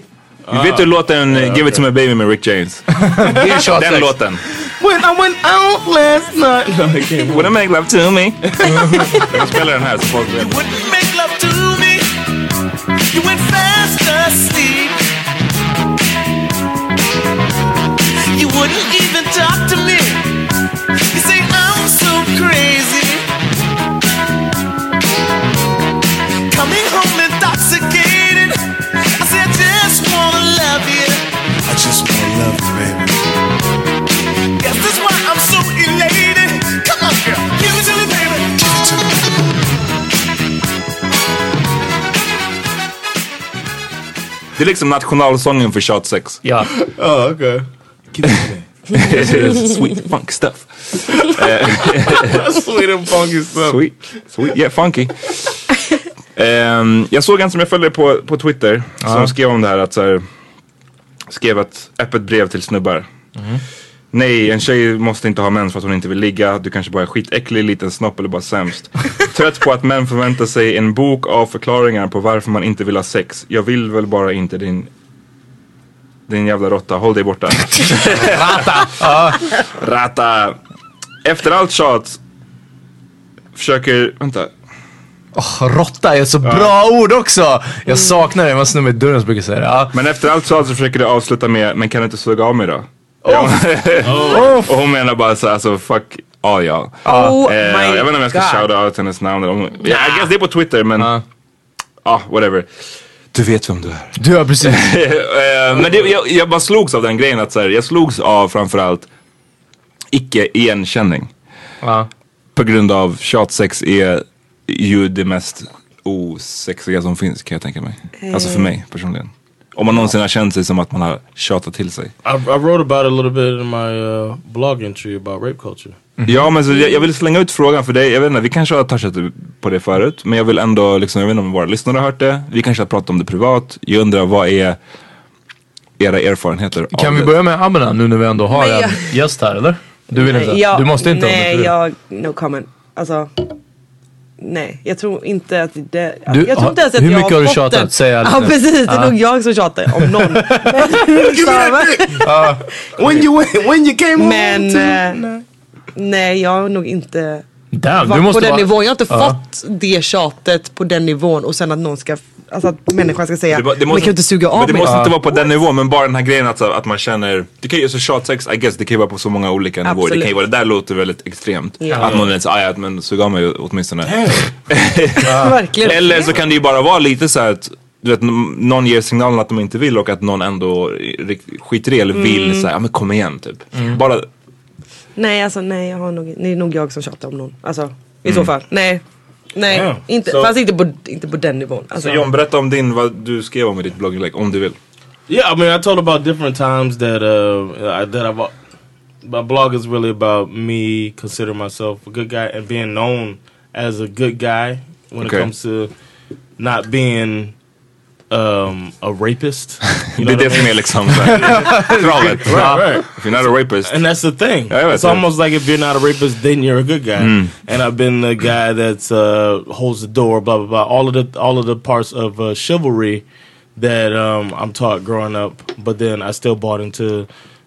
D: Vet du låten eh, Give it to my baby med Rick James?
C: Det är
D: Den
C: tjatsex.
D: låten.
B: When I went out last night. No, I can't.
D: Would I make love to me? Jag spelar den här så folk vet.
H: Make love to me. You went fast asleep. You wouldn't even talk to me. You say I'm so crazy. Coming home intoxicated. I say I just wanna love you. I just wanna love you, baby. Guess that's why I'm so elated. Come on, girl, give it to me, baby. Give it to me.
D: Det är liksom nationalsången för tjatsex.
C: Ja.
B: Oh, okay.
D: Sweet funk stuff.
B: Eh. Sweet and funky stuff.
D: Sweet, sweet, yeah funky. Ehm, jag såg en som jag följer på, på Twitter som skrev om det här att så här, skrev ett öppet brev till snubbar. Nej, en tjej måste inte ha mens för att hon inte vill ligga. Du kanske bara är skitäcklig, liten snopp eller bara sämst. Trött på att män förväntar sig en bok av förklaringar på varför man inte vill ha sex. Jag vill väl bara inte din din jävla råtta, håll dig borta. Rata! Rata! Efter allt tjat försöker, vänta,
C: Råtta är så bra ord också. Jag saknar det. Det var en snubbe i dörren som brukar säga det. Ja.
D: Men efter allt så alltså försöker du avsluta med, men kan du inte suga av mig då? och hon menar bara så alltså fuck, ja Oh. ja.
E: Oh
D: Eh, jag
E: my
D: vet inte om jag ska
E: God.
D: shout out hennes namn. eller om- Ja, I guess det är på Twitter men, ja whatever. Du vet vem du är.
C: Du har precis.
D: Eh, men det, jag, jag bara slogs av den grejen att så här, jag slogs av framförallt icke igenkänning.
C: Ja.
D: På grund av tjatsex är ju det mest osexiga som finns kan jag tänka mig. Alltså
E: Eh.
D: för mig personligen. Om man någonsin har känt sig som att man har tjatat till sig.
B: I, I wrote about it a little bit in my uh, blog entry about rape culture.
D: Ja men så jag, jag vill slänga ut frågan för dig, jag vet inte, vi kanske har touchat på det förut men jag vill ändå, liksom, jag vet inte om våra lyssnare har hört det, vi kanske har pratat om det privat, jag undrar vad är era erfarenheter av
C: Kan vi
D: det?
C: börja med Amina nu när vi ändå har
E: Nej,
C: en
E: jag-
C: gäst här eller? Du vill inte?
E: Ja,
C: du måste inte om du
E: Nej,
C: inte vill.
E: jag, no comment. Alltså, nej, jag tror inte att det...
C: Du,
E: jag tror
C: har-
E: inte ens att
C: hur
E: jag
C: mycket har du
E: fått
C: tjatat?
E: den.
C: Säg ärligt
E: Ja,
C: nu.
E: precis. Det är nog jag som tjatar om någon. Men, liksom,
B: When you when you came
E: men eh, nej, jag har nog inte...
C: Damn,
E: varit
C: du
E: på
C: måste
E: den
C: vara...
E: nivån. Jag har inte
C: Ja.
E: fått det tjatet på den nivån och sen att någon ska, alltså att människan ska säga,
D: Det, var- det
E: man kan ju inte suga
D: men
E: av
D: Det
E: mig.
D: måste inte vara på den nivån men bara den här grejen att, så- att man känner, det kan ju, så tjatsex I guess, det kan ju vara på så många olika nivåer. Det kan ju
E: Absolut.
D: vara, det där låter väldigt extremt.
E: Ja.
D: Att någon är så, "Aj, ja, men sug av mig åtminstone.
E: Verkligen.
D: Eller så kan det ju bara vara lite så här att du vet, n- någon ger signalen att de inte vill och att någon ändå rikt- skiter i eller vill
E: Mm.
D: så här, ja men kom igen typ. Bara,
E: Nej alltså nej, jag har nog, det är nog jag som tjatar om någon. Alltså i
D: Mm.
E: så fall. Nej. Nej,
B: Ja,
E: inte,
B: så-
E: fast inte på, inte på den nivån. Alltså,
D: så John berätta om din, vad du skrev om i ditt blogginlägg om du vill.
B: Yeah, I mean, I told about different times that uh, I, that I've. My blog is really about me considering myself a good guy and being known as a good guy when
D: Okay.
B: it comes to not being um, a rapist. You
D: det är
B: what I
D: det som
B: mean?
D: är liksom så här, kravet.
B: right.
D: If you're not a rapist.
B: And that's the thing.
D: Yeah,
B: it's
D: that's it.
B: almost like if you're not a rapist, then you're a good guy. And I've been the guy that's uh, holds the door, blah blah blah. All of the all of the parts of uh, chivalry that um, I'm taught growing up, but then I still bought into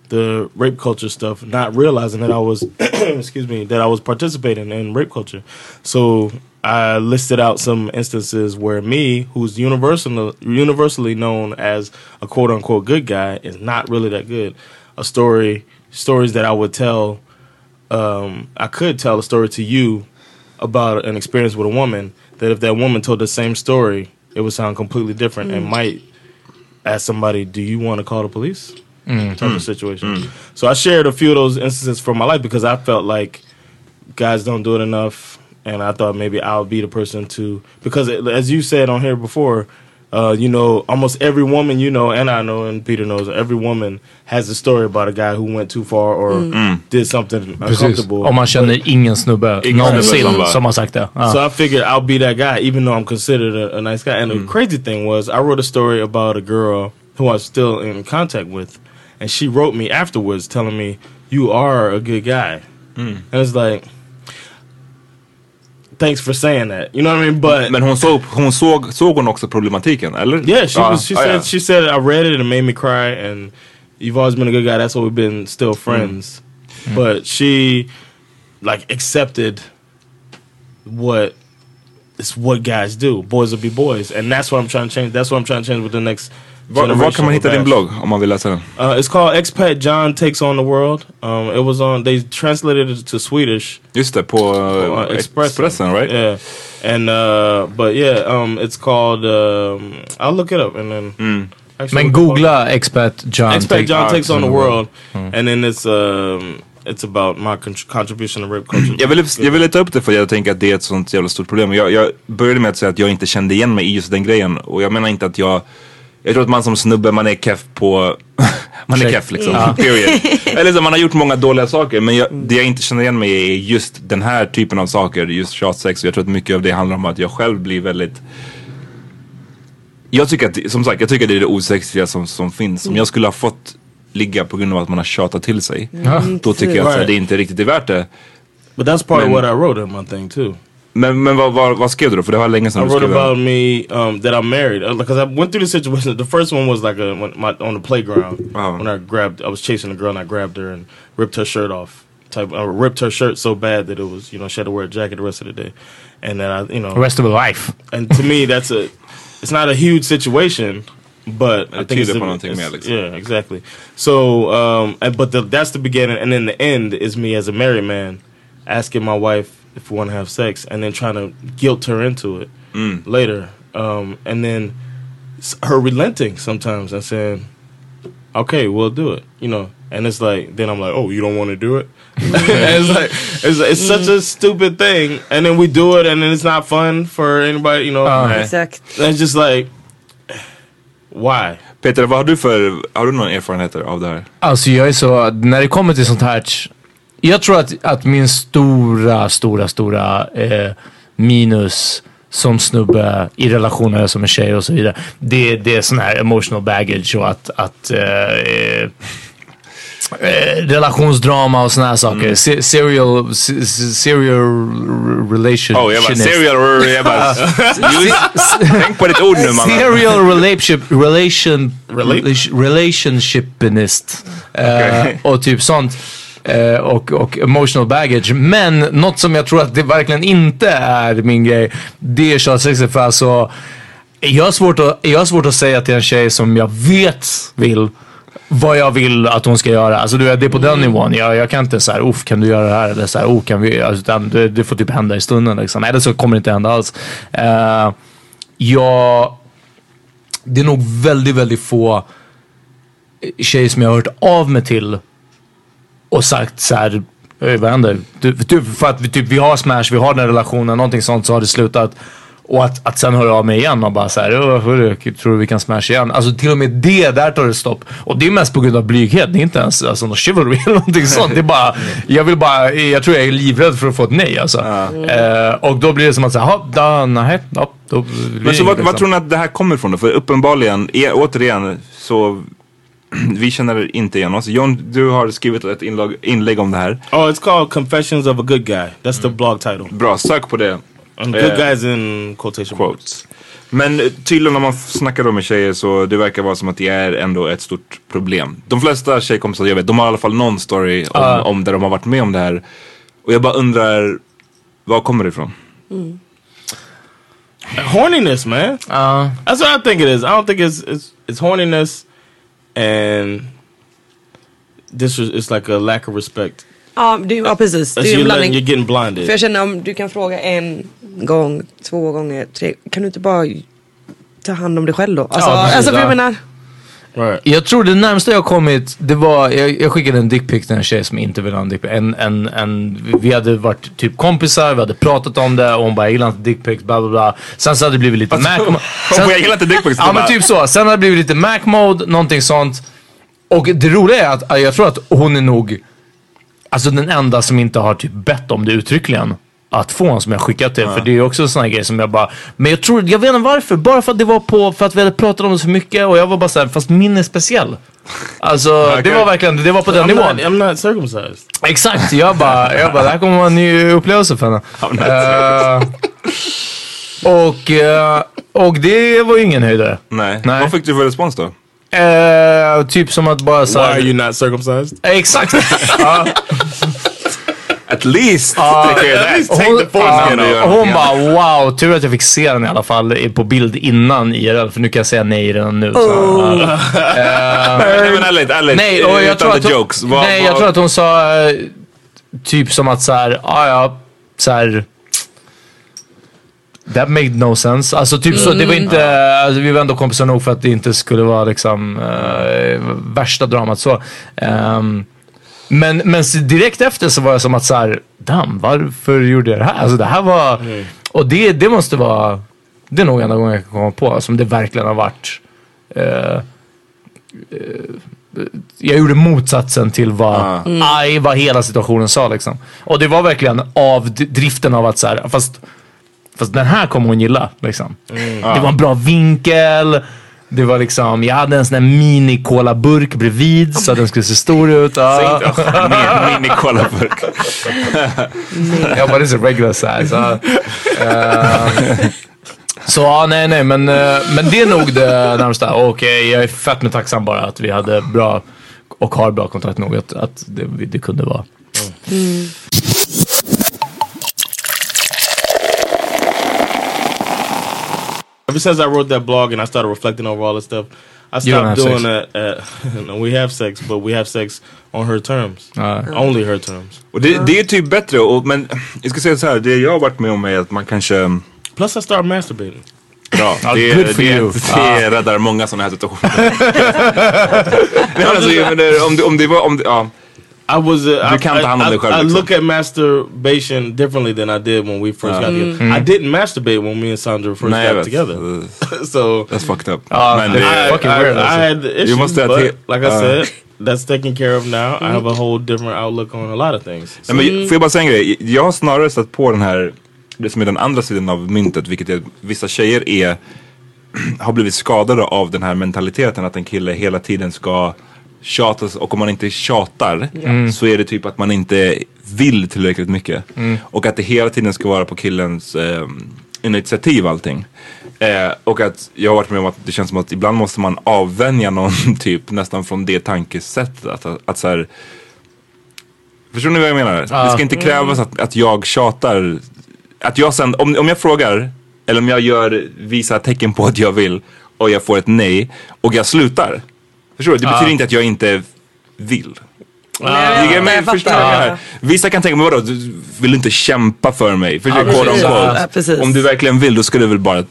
B: the rape culture stuff, not realizing that I was excuse me that I was participating in rape culture. So I listed out some instances where me, who's universal, universally known as a quote unquote good guy, is not really that good. A story, stories that I would tell, um, I could tell a story to you about an experience with a woman that if that woman told the same story, it would sound completely different and might ask somebody, "Do you want to call the police?" Type of situation. So I shared a few of those instances from my life because I felt like guys don't do it enough, and I thought maybe I'll be the person to because it, as you said on here before, uh, you know, almost every woman you know, and I know, and Peter knows, every woman has a story about a guy who went too far or
C: Mm. Mm.
B: did something
C: Precis.
B: uncomfortable.
C: Om man känner ingen snubbe
B: Ingen
C: någonsin
B: snubbe.
C: som har sagt det. Ja.
B: So I figured I'll be that guy, even though I'm considered a, a nice guy. And the crazy thing was, I wrote a story about a girl who I'm still in contact with, and she wrote me afterwards telling me, "You are a good guy."
D: Mm.
B: And it's like, thanks for saying that. You know what I mean? But
D: Men hon såg, hon såg, såg hon också problematiken, eller?
B: yeah, she
D: Ja,
B: was. She
D: ja,
B: said
D: ja.
B: she said I read it and it made me cry. And you've always been a good guy. That's why we've been still friends.
D: Mm.
B: But she like accepted what it's what guys do. Boys will be boys, and that's what I'm trying to change. That's what I'm trying to change with the next.
D: Var, var kan
B: generation
D: man
B: of
D: hitta din
B: guys.
D: blogg om man vill läsa den?
B: Uh, it's called Expat John Takes on the World. Um, it was on. They translated it to Swedish.
D: Just that, på
B: uh, Expressen.
D: Expressen, right?
B: Yeah. And uh, but yeah, um, it's called. Um, I'll look it up and then. Actually,
C: Men
B: look up-
C: googla expert John.
B: Expect Mm. John
C: Take-
B: takes on the world,
C: Mm.
B: and then it's um, it's about my con contribution to rape culture.
D: Jag ville, jag ville ta upp det för jag tänker att det är ett sånt jävla stort problem. Jag, jag började med att säga att jag inte kände igen mig i just den grejen. Och jag menar inte att jag... Jag tror att man som snubbe, man är keff på... man är
C: Tjej.
D: keff liksom.
C: Ja.
D: Period. Eller så, man har gjort många dåliga saker. Men jag, det jag inte känner igen mig i är just den här typen av saker. Just tjatsex. Och jag tror att mycket av det handlar om att jag själv blir väldigt... Jag tycker att, det- som sagt, jag tycker att det är det osexiga som, som finns. Om jag skulle ha fått ligga på grund av att man har tjatat till sig.
B: Mm,
D: Då tycker jag att så här,
B: precis.
D: det inte riktigt är värt det.
B: But that's part of
D: Men-
B: what I wrote in my thing too.
D: Men, men vad, vad, vad skrev du då? För det var länge sedan
B: I
D: du
B: wrote
D: skrev den.
B: about me um, that I'm married because I went through the situation. The first one was like a, when my, on the playground when I grabbed, I was chasing a girl and I grabbed her and ripped her shirt off. Type, I ripped her shirt so bad that it was you know she had to wear a jacket the rest of the day, and then I you know
C: Rest of her life.
B: And to me, that's a it's not a huge situation, but I
D: It
B: think
D: teed
B: it's,
D: up
B: a-
D: on a thing,
B: it's-
D: yeah, like-
B: yeah, exactly. So, um, and, but the, that's the beginning, and then the end is me as a married man asking my wife if we want to have sex, and then trying to guilt her into it
D: Mm.
B: later, um, and then s- her relenting sometimes and saying, "Okay, we'll do it," you know. And it's like then I'm like, "Oh, you don't want to do it?" And it's like it's, it's such a stupid thing, and then we do it, and then it's not fun for anybody, you know.
D: Ah.
E: Exakt.
B: And it's just like, why?
D: Peter, vad har du för, har du några erfarenheter av det här?
C: Alltså jag är så, när det kommer till sånt här. Jag tror att, att min stora, stora, stora eh, minus som snubbe i relationer som en tjej och så vidare. Det, det är sån här emotional baggage och att, att eh, eh, eh, relationsdrama och såna här saker.
D: Mm.
C: Se, serial, se, se- serial relationship.
D: Oh, jag bara, serial, jag bara, you, tänk på ditt ord nu mannen.
C: Serial relationship, relation,
D: Relate?
C: relation- relationshipinist. Eh,
D: Okej.
C: och typ sånt. Eh, och, och emotional baggage. Men något som jag tror att det verkligen inte är min grej. Det är tjatsexet. För alltså, jag har, svårt att, jag har svårt att säga till en tjej som jag vet vill vad jag vill att hon ska göra. Alltså du vet, det är på
D: Mm.
C: den nivån. Jag, jag kan inte såhär, uff kan du göra det här? Eller såhär, oh kan vi? Alltså, utan det, det får typ hända i stunden liksom. Eller så kommer det inte hända alls. Eh, jag... Det är nog väldigt, väldigt få tjejer som jag har hört av mig till och sagt så här. "Ey, Vad händer? Du, du, för att vi, typ, vi har smash, vi har den här relationen, någonting sånt så har det slutat. Och att, att sen höra av mig igen och bara såhär, tror du vi kan smash igen? Alltså till och med det, där tar det stopp. Och det är mest på grund av blyghet, det är inte ens alltså, någon chivalry eller någonting sånt. Det är bara, jag vill bara, jag tror jag är livrädd för att få ett nej alltså. Eh, och då blir det som att säga, jaha, da, nej, ja, då blir det
D: Men så
C: inget,
D: vad, vad
C: liksom."
D: tror ni att det här kommer ifrån då? För uppenbarligen, e, återigen, så vi känner inte igen oss. John, du har skrivit ett inlag, inlägg om det här.
B: Oh, it's called Confessions of a Good Guy. That's the blog title.
D: Bra, sök på det.
B: And good
D: Eh,
B: guys in quotation
D: quotes. Men eh, tydligen när man snackar då med tjejer så det verkar vara som att det är ändå ett stort problem. De flesta tjejkompisar jag vet, de har i alla fall någon story om,
C: Ja.
D: om där de har varit med om det här. Och jag bara undrar, var kommer det ifrån?
B: horniness, man.
C: Uh-huh.
B: That's what I think it is. I don't think it's it's it's horniness and this is it's like a lack of respect.
E: Ja, du, ja precis. Det
B: As Um, Alltså,
E: är en
B: you
E: blandning.
B: learn, you're getting blinded.
E: För jag känner om du kan fråga en gång, två gånger, tre. Kan du inte bara ta hand om dig själv då? Alltså,
C: Ja, precis,
E: alltså för jag
C: ja.
E: menar.
C: Jag tror det närmsta jag kommit, det var, jag, jag skickade en dickpic till en tjej som inte ville ha en dickpic. En, en, en, vi hade varit typ kompisar, vi hade pratat om det och hon bara, jag gillar inte dickpics, bla bla bla. Sen så hade det blivit lite
D: Alltså,
C: mac...
D: hon bara, "Jag gillar inte dickpics",
C: Ja
D: du
C: men
D: bara-
C: typ så. Sen hade det blivit lite mac mode, någonting sånt. Och det roliga är att äh, jag tror att hon är nog, alltså den enda som inte har typ bett om det uttryckligen. Att få en som jag skickat till.
D: Ja.
C: För det är ju också en sån här grej som jag bara, men jag tror, jag vet inte varför. Bara för att det var på, för att vi hade pratat om det så mycket och jag var bara såhär, fast min är speciell. Alltså det var verkligen, det var på den
B: I'm
C: nivån.
B: Not, I'm not circumcised.
C: Exakt, jag bara, jag bara, det här kommer vara en ny upplevelse för henne. Eh, och, eh, och det var ju ingen höjdare.
D: Nej. Vad fick du för respons då?
C: Eh, typ som att bara
B: Why are
C: såhär...
B: you not circumcised?
C: Exakt! Ja.
D: At least
C: Ja.
D: take care of that.
C: Hon,
D: foreskin och
C: ja,
D: gör
C: hon
D: någonting
C: bara wow, tur att jag fick se den i alla fall i- på bild innan IRL för nu kan jag säga nej redan nu. typ Så, ja.
B: Oh.
D: Oh.
C: Eh,
D: Nej men ärligt, ärligt. eh,
C: Nej, och jag
D: utan
C: tror, att
D: the
C: hon,
D: jokes. Vad-
C: nej jag
D: vad-
C: tror att hon sa eh, typ som att såhär, ja ja, såhär. That made no sense. Alltså typ så, det var
I: Mm.
C: inte, alltså, vi var ändå kompisar nog för att det inte skulle vara liksom eh, värsta dramat så. Ehm, men, men så direkt efter så var jag som att såhär, damn varför gjorde jag det här? Alltså det här var,
B: Mm.
C: och det, det måste vara, det är nog enda gången jag kan komma på som det verkligen har varit. eh, jag gjorde motsatsen till vad, aj, vad hela situationen sa liksom. Och det var verkligen av d- driften av att så här, fast, fast den här kommer hon gilla liksom.
B: Mm. Ah.
C: Det var en bra vinkel. Det var liksom, jag hade en sån här mini burk bredvid så att den skulle se stor ut. Ja.
D: Min- Mini kolaburk.
C: Jag bara, det är regular size. Ja. Eh, så ja, nej, nej, men, eh, men det är nog det närmsta. Okej, jag är fett med tacksam bara att vi hade bra och har bra kontakt nog att, att det, det kunde vara.
B: Mm. Ever since I wrote that blog and I started reflecting over all this stuff, I
C: You don't
B: stopped doing
C: have
B: that. Uh, no, we have sex, but we have sex on her terms.
C: Uh.
B: Only her terms.
D: Och det, det är typ bättre, och, men jag ska säga så här, det jag har varit med om är att man kanske... mm,
B: Plus, I started masturbating.
D: Bra,
C: Ja,
D: det,
C: good for
D: det,
C: you.
D: det räddar många sådana här situationer. Nej, men alltså, jag menar, om, det, om det var... Om det, ja.
B: I was. Uh, I,
D: Du kan ta hand om
B: I,
D: dig själv,
B: I, I
D: liksom.
B: look at masturbation differently than I did when we first got together. I didn't masturbate when me and Sandra first
D: Nej, jag
B: got
D: vet.
B: together. so uh,
D: That's fucked up.
C: Ja,
D: men
C: det-
D: det,
C: Fucking
B: I,
C: weird,
B: I
C: alltså.
B: had the
D: You
B: issues,
D: must have
B: but
D: hit-
B: like I
D: uh,
B: said, that's taken care of now. I have a whole different outlook on a lot of things. So,
D: Nej, men, får jag bara säga en grej? Jag har snarare stött på den här, det som är den andra sidan av myntet, vilket är att vissa tjejer är, har blivit skadade av den här mentaliteten att en kille hela tiden ska tjatas och om man inte tjatar så är det typ att man inte vill tillräckligt mycket. Mm. Och att det hela tiden ska vara på killens eh, initiativ allting. Eh, och att jag har varit med om att det känns som att ibland måste man avvänja någon typ nästan från det tankesättet. Att, att, att så här, Förstår ni vad jag menar? Det ska inte krävas att, att jag tjatar. Att jag sen, om, om jag frågar, eller om jag gör, visar tecken på att jag vill och jag får ett nej och jag slutar. Förstår du? Det betyder inte att jag inte vill.
I: Nej,
D: men,
I: jag
D: förstår du vad jag
I: fattar.
D: menar? Vissa kan tänka, men vadå, du vill inte kämpa för mig? Förstår du?
C: precis.
D: Quote unquote.
I: Ja, precis.
D: Om du verkligen vill, då ska du väl bara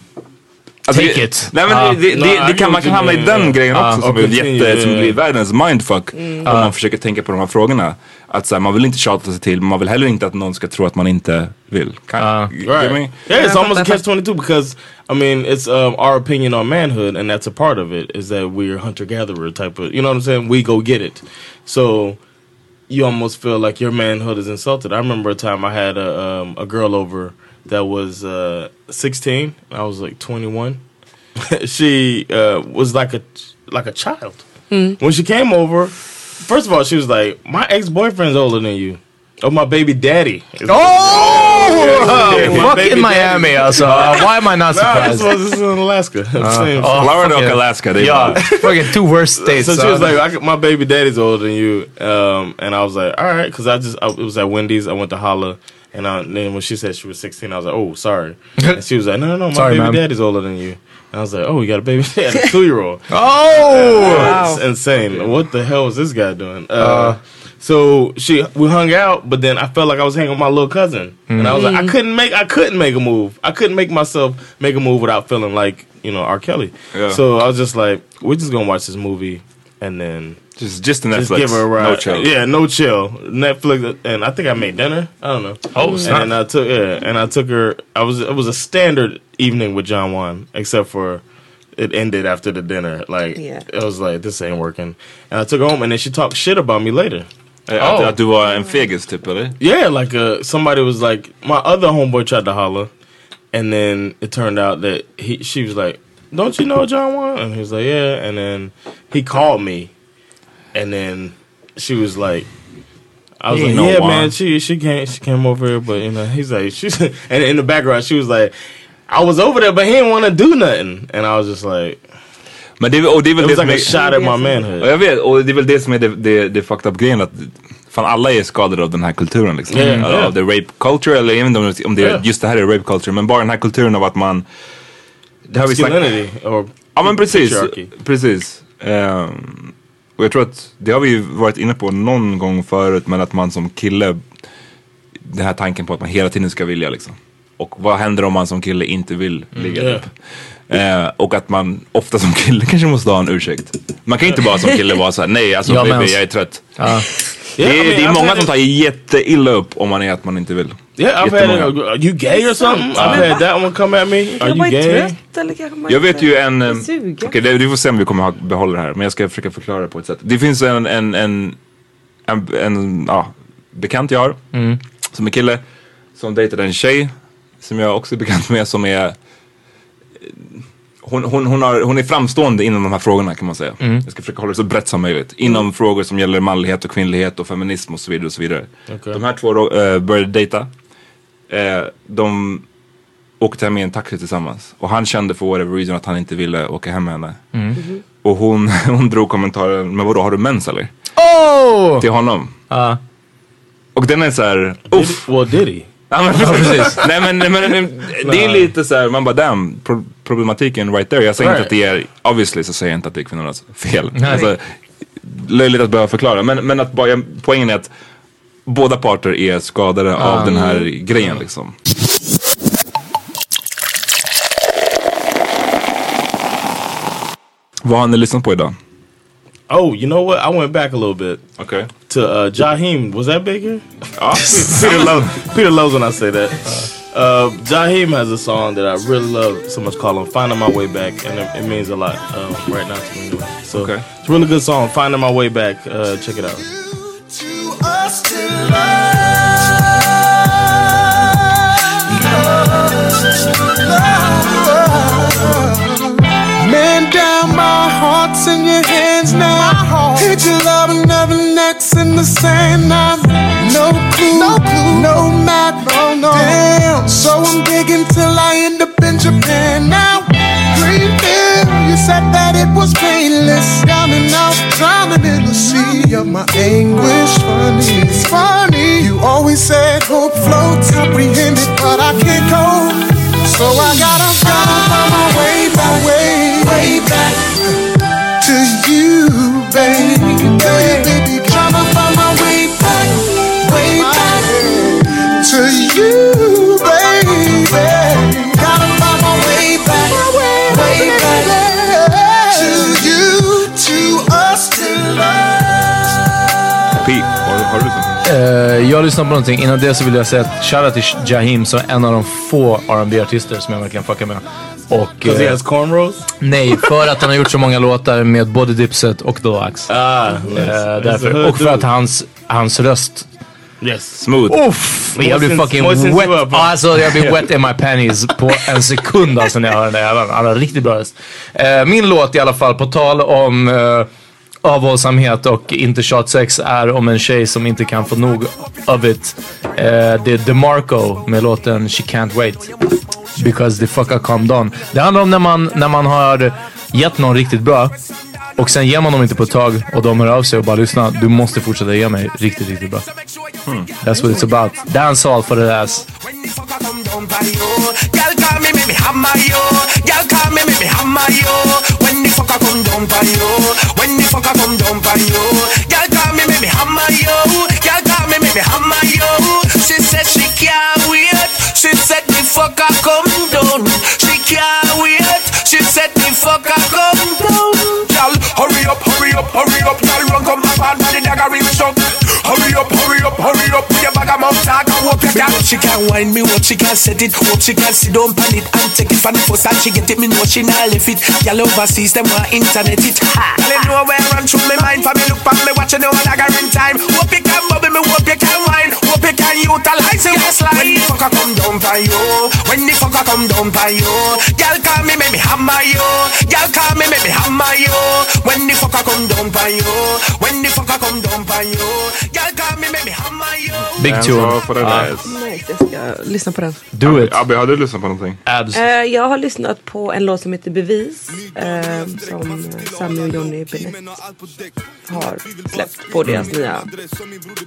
D: Alltså,
C: Take
D: det-
C: it.
D: Nej, men
C: Ja.
D: det, det,
B: Nej,
D: det, det kan, man kan hamna i den grejen också som,
B: och
D: är
B: continue,
D: jätte, som
B: ja, ja.
D: blir världens mindfuck
C: Mm.
D: om man försöker tänka på de här frågorna. Att så här, man vill inte tjata sig till men man vill heller inte att någon ska tro att man inte vill. Kan, you get
B: Right.
D: me?
B: Yeah, it's
I: Yeah,
B: almost a
I: but that's-
B: catch twenty two because I mean it's um, our opinion on manhood, and that's a part of it is that we're hunter gatherer type of. You know what I'm saying? We go get it. So you almost feel like your manhood is insulted. I remember a time I had a um, a girl over that was uh, 16. I was like 21. she uh, was like a like a child when she came over. First of all, she was like, "My ex boyfriend's older than you." Oh, my baby daddy. is
C: Oh! Fuck
B: Baby
C: in
B: daddy.
C: Miami alltså. Why am I not
B: No, this
C: surprised?
B: was, this was in Alaska. Same.
C: Oh,
D: Florida
C: fuck
D: och
C: yeah.
D: Alaska, det är
C: Ja,
D: bara-
C: fucking two worst states.
B: so she was
C: alltså.
B: like, I, could- "My baby daddy's older than you," um, and I was like, "All right," because I just I, it was at Wendy's. I went to holla, and, I, and then when she said she was 16, I was like, "Oh, sorry." And she was like, "No, no, no, my
C: Sorry,
B: baby
C: ma'am.
B: daddy's older than you." And I was like, "Oh, you got a baby dad, a two year old."
C: oh!
B: It's insane. What the hell was this guy doing? Uh, So she we hung out, but then I felt like I was hanging with my little cousin, and I
C: Hmm.
B: was like, I
J: Mm.
B: couldn't make I couldn't make a move. I couldn't make myself make a move without feeling like you know R. Kelly.
D: Yeah.
B: So I was just like, we're just gonna watch this movie, and then
D: just just
B: the
D: Netflix.
B: give her a ride.
D: No chill.
B: Yeah, no chill. Netflix, and I think I made dinner. I don't know.
D: Oh,
B: and uh,
D: snap.
B: then I took yeah, and I took her. I was it was a standard evening with John Wan, except for it ended after the dinner. Like
J: Yeah.
B: it was like this ain't working. And I took her home, and then she talked shit about me later.
D: Att,
B: Oh.
D: att du var en fegis typ eller?
B: Yeah, like uh, somebody was like, my other homeboy tried to holler, and then it turned out that he she was like, "Don't you know John Wan?" And he was like, "Yeah." And then he called me, and then she was like, "I was
J: He
B: like,
J: ain't no
B: yeah,
J: Juan."
B: man, she she came she came over here, but you know, he's like, she's and in the background she was like, I was over there, but he didn't want to do nothing, and I was just like,
D: Men det, är- och det är väl
B: It
D: det
B: was
D: som
B: like a
D: är,
B: shot at my manhood.
D: Ja, jag vet, och det är väl det som är det, det, det fucked up grejen att fan alla är skadade av den här kulturen liksom.
J: Yeah,
D: Av-
J: yeah.
D: Av the rape culture eller även om det, om det
J: Yeah.
D: just det här är rape culture men bara den här kulturen av att man det har vi snackat-
B: Masculinity or
D: Ja men precis,
B: patriarchy.
D: precis. Ehm, och jag tror att det har vi ju varit inne på någon gång förut men att man som kille, den här tanken på att man hela tiden ska vilja liksom. Och vad händer om man som kille inte vill
C: Mm.
D: ligga
B: yeah.
D: upp? Eh, och att man ofta som kille kanske måste ha en ursäkt. Man kan inte bara som kille vara såhär, nej alltså
C: Jag
D: baby
C: mens."
D: jag är trött.
C: Ja. alltså
D: Det,
B: Yeah, I
D: är,
B: mean,
D: det är
B: I've
D: många
B: had
D: som tar jätteilla upp om man är att man inte vill.
B: Yeah, I've had
D: Jättemånga.
B: a, you gay or something?
D: Ja.
B: I've had that one come at me. Are you gay?
E: eller kanske man
D: Jag vet ju en... eh,
E: Suga.
D: Okej, det vi får se om vi kommer ha, behålla det här. Men jag ska försöka förklara det på ett sätt. Det finns en, en, en, en, en ja, bekant jag har.
C: Mm.
D: Som är kille. Som dejtade en tjej. Som jag också är bekant med. Som är... eh, Hon, hon, hon, har, hon är framstående inom de här frågorna kan man säga.
C: Mm.
D: Jag ska försöka hålla det så brett som möjligt. Inom frågor som gäller manlighet och kvinnlighet och feminism och så vidare. Och så vidare. De här två uh, började dejta. Eh, de åkte hem i en taxi tillsammans. Och han kände för whatever reason att han inte ville åka hem med henne.
C: Mm-hmm.
D: Och hon, hon drog kommentaren, men vadå har du mens eller?
C: Oh!
D: Till honom. Och den är så här, uff.
B: Well did he?
D: Ja men precis. nej men, nej, men, men det är lite så här, man bara damn, pro problematiken right there. Jag säger inte att det är, obviously så säger jag inte att det är kvinnornas fel.
C: Nej.
D: Alltså, löjligt att behöva förklara. Men, men att bara, poängen är att båda parter är skadade av
C: Ah.
D: den här grejen liksom. Vad har ni lyssnat på idag?
B: Oh, you know what? I went back a little bit.
D: Okay.
B: To uh, Jaheim, was that bigger? Peter, loves, Peter loves when I say that. Uh, Jaheim has a song that I really love so much called Finding My Way Back, and it, it means a lot um, right now to me. anyway. So it's a really good song, Finding My Way Back. Uh, check it out.
H: us to love. Man down, my heart's in your hands now. Hit your love and nothing next in the sand now. No clue, no, map, no, no. Damn, so I'm digging till I end up in Japan now. Dreaming, you said that it was painless. Down and out, drowning in the sea of my anguish. Funny, it's funny. You always said hope floats, comprehended, but I can't go. So I gotta find my way, my way, way back to you, baby. baby. Tryna find my way back, way back to you, baby. Gotta find my way back, way back to you, to us, to love.
D: Pete, har, har du lyssnat?
C: Eh, jag lyssnar på någonting. Innan det så vill jag säga att shoutout till Jaheim som är en av de få R&B artister som jag verkligen fuckar med. Och,
B: Because he
C: eh,
B: has cornrows?
C: nej, för att han har gjort så många låtar med både Dipset och Deluxe.
B: Ah,
C: Eh,
B: nice. He's a
C: därför.
B: hood
C: Och för att hans, hans röst
B: Yes.
D: Smooth.
C: Uff, jag blir
B: Moistens-
C: fucking
B: moistens
C: wet.
B: you up, va?
C: alltså jag blir wet in my panties på en sekund alltså när jag hör den där jäveln. Han har riktigt bra röst. Eh, min låt i alla fall, på tal om eh, avhållsamhet och inte tjatsex, är om en tjej som inte kan få nog of it. Eh, det är DeMarco med låten She Can't Wait. Because the fucker calm down. Det handlar om när man, när man har gett någon riktigt bra och sen ger man dem inte på ett tag och de hör av sig och bara lyssna, du måste fortsätta ge mig riktigt, riktigt bra.
D: Hmm.
C: That's what it's about. Dancehall for the ass.
H: Y'all call me, make me hammer yo. Y'all call me, make me hammer yo. When the fucker come down by yo. When the fucker come down by yo. Y'all call me, make me hammer yo.
I: fuck I come down. She can't wait. She said me fuck I come down. Y'all, hurry up, hurry up, hurry up. Y'all run come up and the dagger reach up. Hurry up, hurry up, hurry up. Put your bag of mouth talk and walk it down. She can't wind me up, she can't set it up. She can't sit down pan it and take it from the first time she get it. Me know she not left it. Y'all overseas them want internet it. Ha! Y'all know where I run through me mind. For me look back, me watching no dagger in time. Hope you can bubble me, hope you can wine. Hope you can utilize your waistline. When the fucker come down for you, when the fucker come down for you, y'all call me, make me hammer you. Y'all call me, make me hammer you. When the fucker come down for you, when the fucker come down for you, y'all call me, make me hammer you.
C: Big
D: Men
C: tune.
D: vad får den
C: Ja.
D: här?
E: Nice, jag ska lyssna på den.
C: Do it.
D: Abbe, har du lyssnat på någonting?
C: Abs.
E: Eh, jag har lyssnat på en låt som heter Bevis. eh, som Sammy och Johnny Bennett har släppt på deras
B: Mm.
E: nya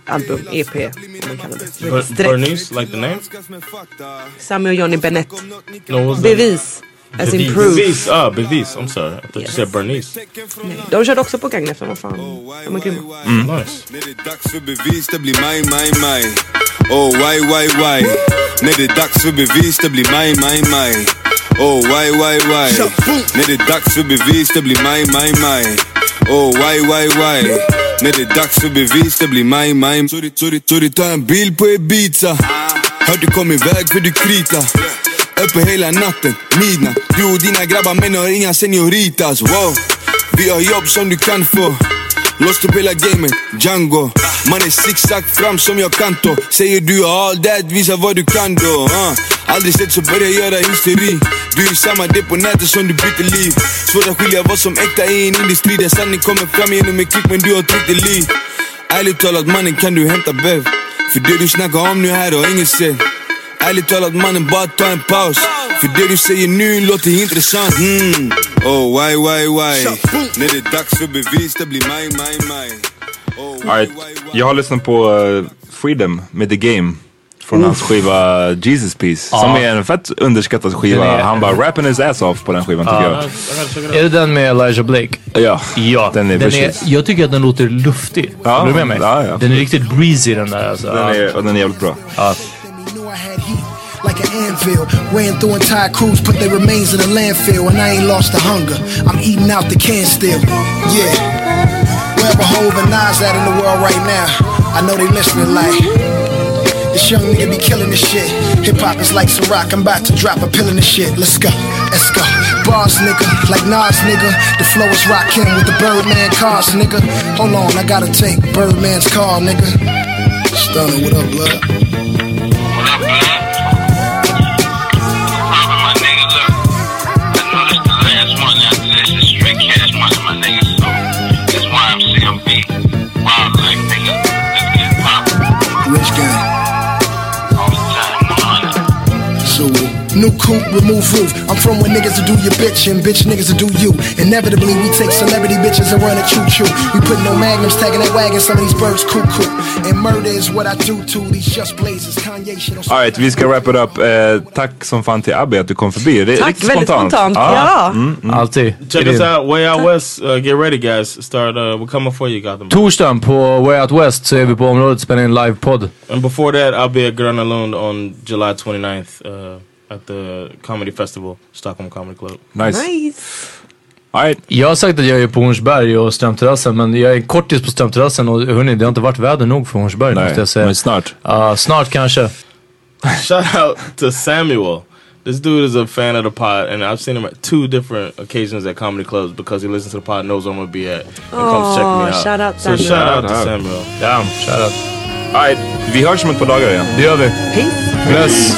E: album, E EP. Om man kallar det. Som heter
B: Ber-
E: Stretch.
B: Bernice, like the name?
E: Sammy och Johnny Bennett.
B: No, what's that?
E: Bevis. As in proof.
B: Bevis. Ah, Bevis. I'm sorry. I thought you said Bernice.
E: De körde också på Gagnef. Vad fan. De är grymma.
B: Nice.
K: När det är dags för bevis det blir maj, maj, maj Oh why, why, why När det är dags för bevis det blir maj, maj, maj Oh why, why, why När det är dags för bevis det blir maj, maj, maj Oh why, why, why När det är dags för bevis det blir maj, maj Sorry, sorry, sorry, ta en bil på Ibiza Hör du kom iväg för du krita Öppe hela natten, midnatt Du och dina grabbar men har inga senoritas Wow, vi har jobb som du kan få Låst upp hela gamet, Django Man är zigzag fram som jag kan då Säger du all that, visa vad du kan då uh. Aldrig sett så börjar jag göra hysteri Du är i samma det på nätet som du byter liv Svårt att skilja vad som äkta i en industri Där sanning kommer fram genom en klick men du har tryckt i liv Ärligt talat mannen kan du hämta bev För det du snackar om nu här har ingen sett Ärligt talat mannen, bara ta en paus För det du säger nu låter intressant mm. Oh why, why, why När det är dags för bevis det blir maj, maj, maj
D: All right. Jag har lyssnat på eh, Freedom med The Game. Från hans skiva Jesus Piece. Som
C: Ja.
D: är en fett underskattad skiva.
C: Den är-
D: Han bara rapping his ass off på den skivan tycker
C: Ja. Ah. Är det den med Elijah Blake?
D: jag. Ja.
C: Ja,
D: Den är
C: den är,
D: vicious.
C: jag tycker att den låter luftig.
D: Ja,
C: Håller du med mig?
D: ja, ja.
C: Den är riktigt breezy den där alltså.
D: Den är, och den är jävligt bra.
C: Ja.
L: like an anvil. Ran through entire crews, put their remains in the landfill, and I ain't lost the hunger. I'm eating out the can still. Yeah. Wherever Hov and Nas at in the world right now, I know they listening like. This young nigga be killing this shit. Hip hop is like some rock. I'm about to drop a pill in this shit. Let's go, let's go. Bars, nigga, like Nas, nigga. The flow is rockin' with the Birdman cars, nigga. Hold on, I gotta take Birdman's car, nigga. Stunning, what up, blood? Rich gang. Zulu. New coupe, remove roof. I'm from where niggas will do your bitch and bitch niggas will do you. Inevitably, we take celebrity bitches and run a choo choo. We put no magnums tagging that wagon, some of these birds cuckoo. And murder is what I do to these just blazers. Kanye shit on
D: Alright, vi ska wrap it up. Eh, tack som fan till Abbe att du kom förbi. Det är
E: Tack,
D: riktigt
E: väldigt spontant. Ja.
C: Mm, Alltid.
B: Check
C: Det är
B: us
C: det.
B: out. Way Out West. Uh, get ready, guys. Start. Uh, we're coming for you, Gotham.
C: Torsdagen på Way Out West så är vi på området och spelar in livepodd.
B: And before that, I'll be at Gran Alund on July 29th uh, at the Comedy Festival, Stockholm Comedy Club.
D: Alright.
C: Jag har sagt att jag är på Hornsberg och Strömterrassen men jag är kortis på Strömterrassen och hörni det har inte varit väder nog för Hornsberg
D: Nej,
C: måste jag säga.
D: men snart.
C: Ja, snart kanske.
B: Shout out to Samuel. This dude is a fan of the pod, and I've seen him at two different occasions at comedy clubs because he listens to the pod, knows where I'm gonna be at, and comes check
E: Aw,
B: me out.
E: shout out
B: so
E: Samuel.
B: shout out to
D: Shout out.
B: Samuel.
C: Damn, shout out.
D: Alright, vi hörs om ett par dagar igen.
C: Det gör vi.
E: Peace.
C: Bless.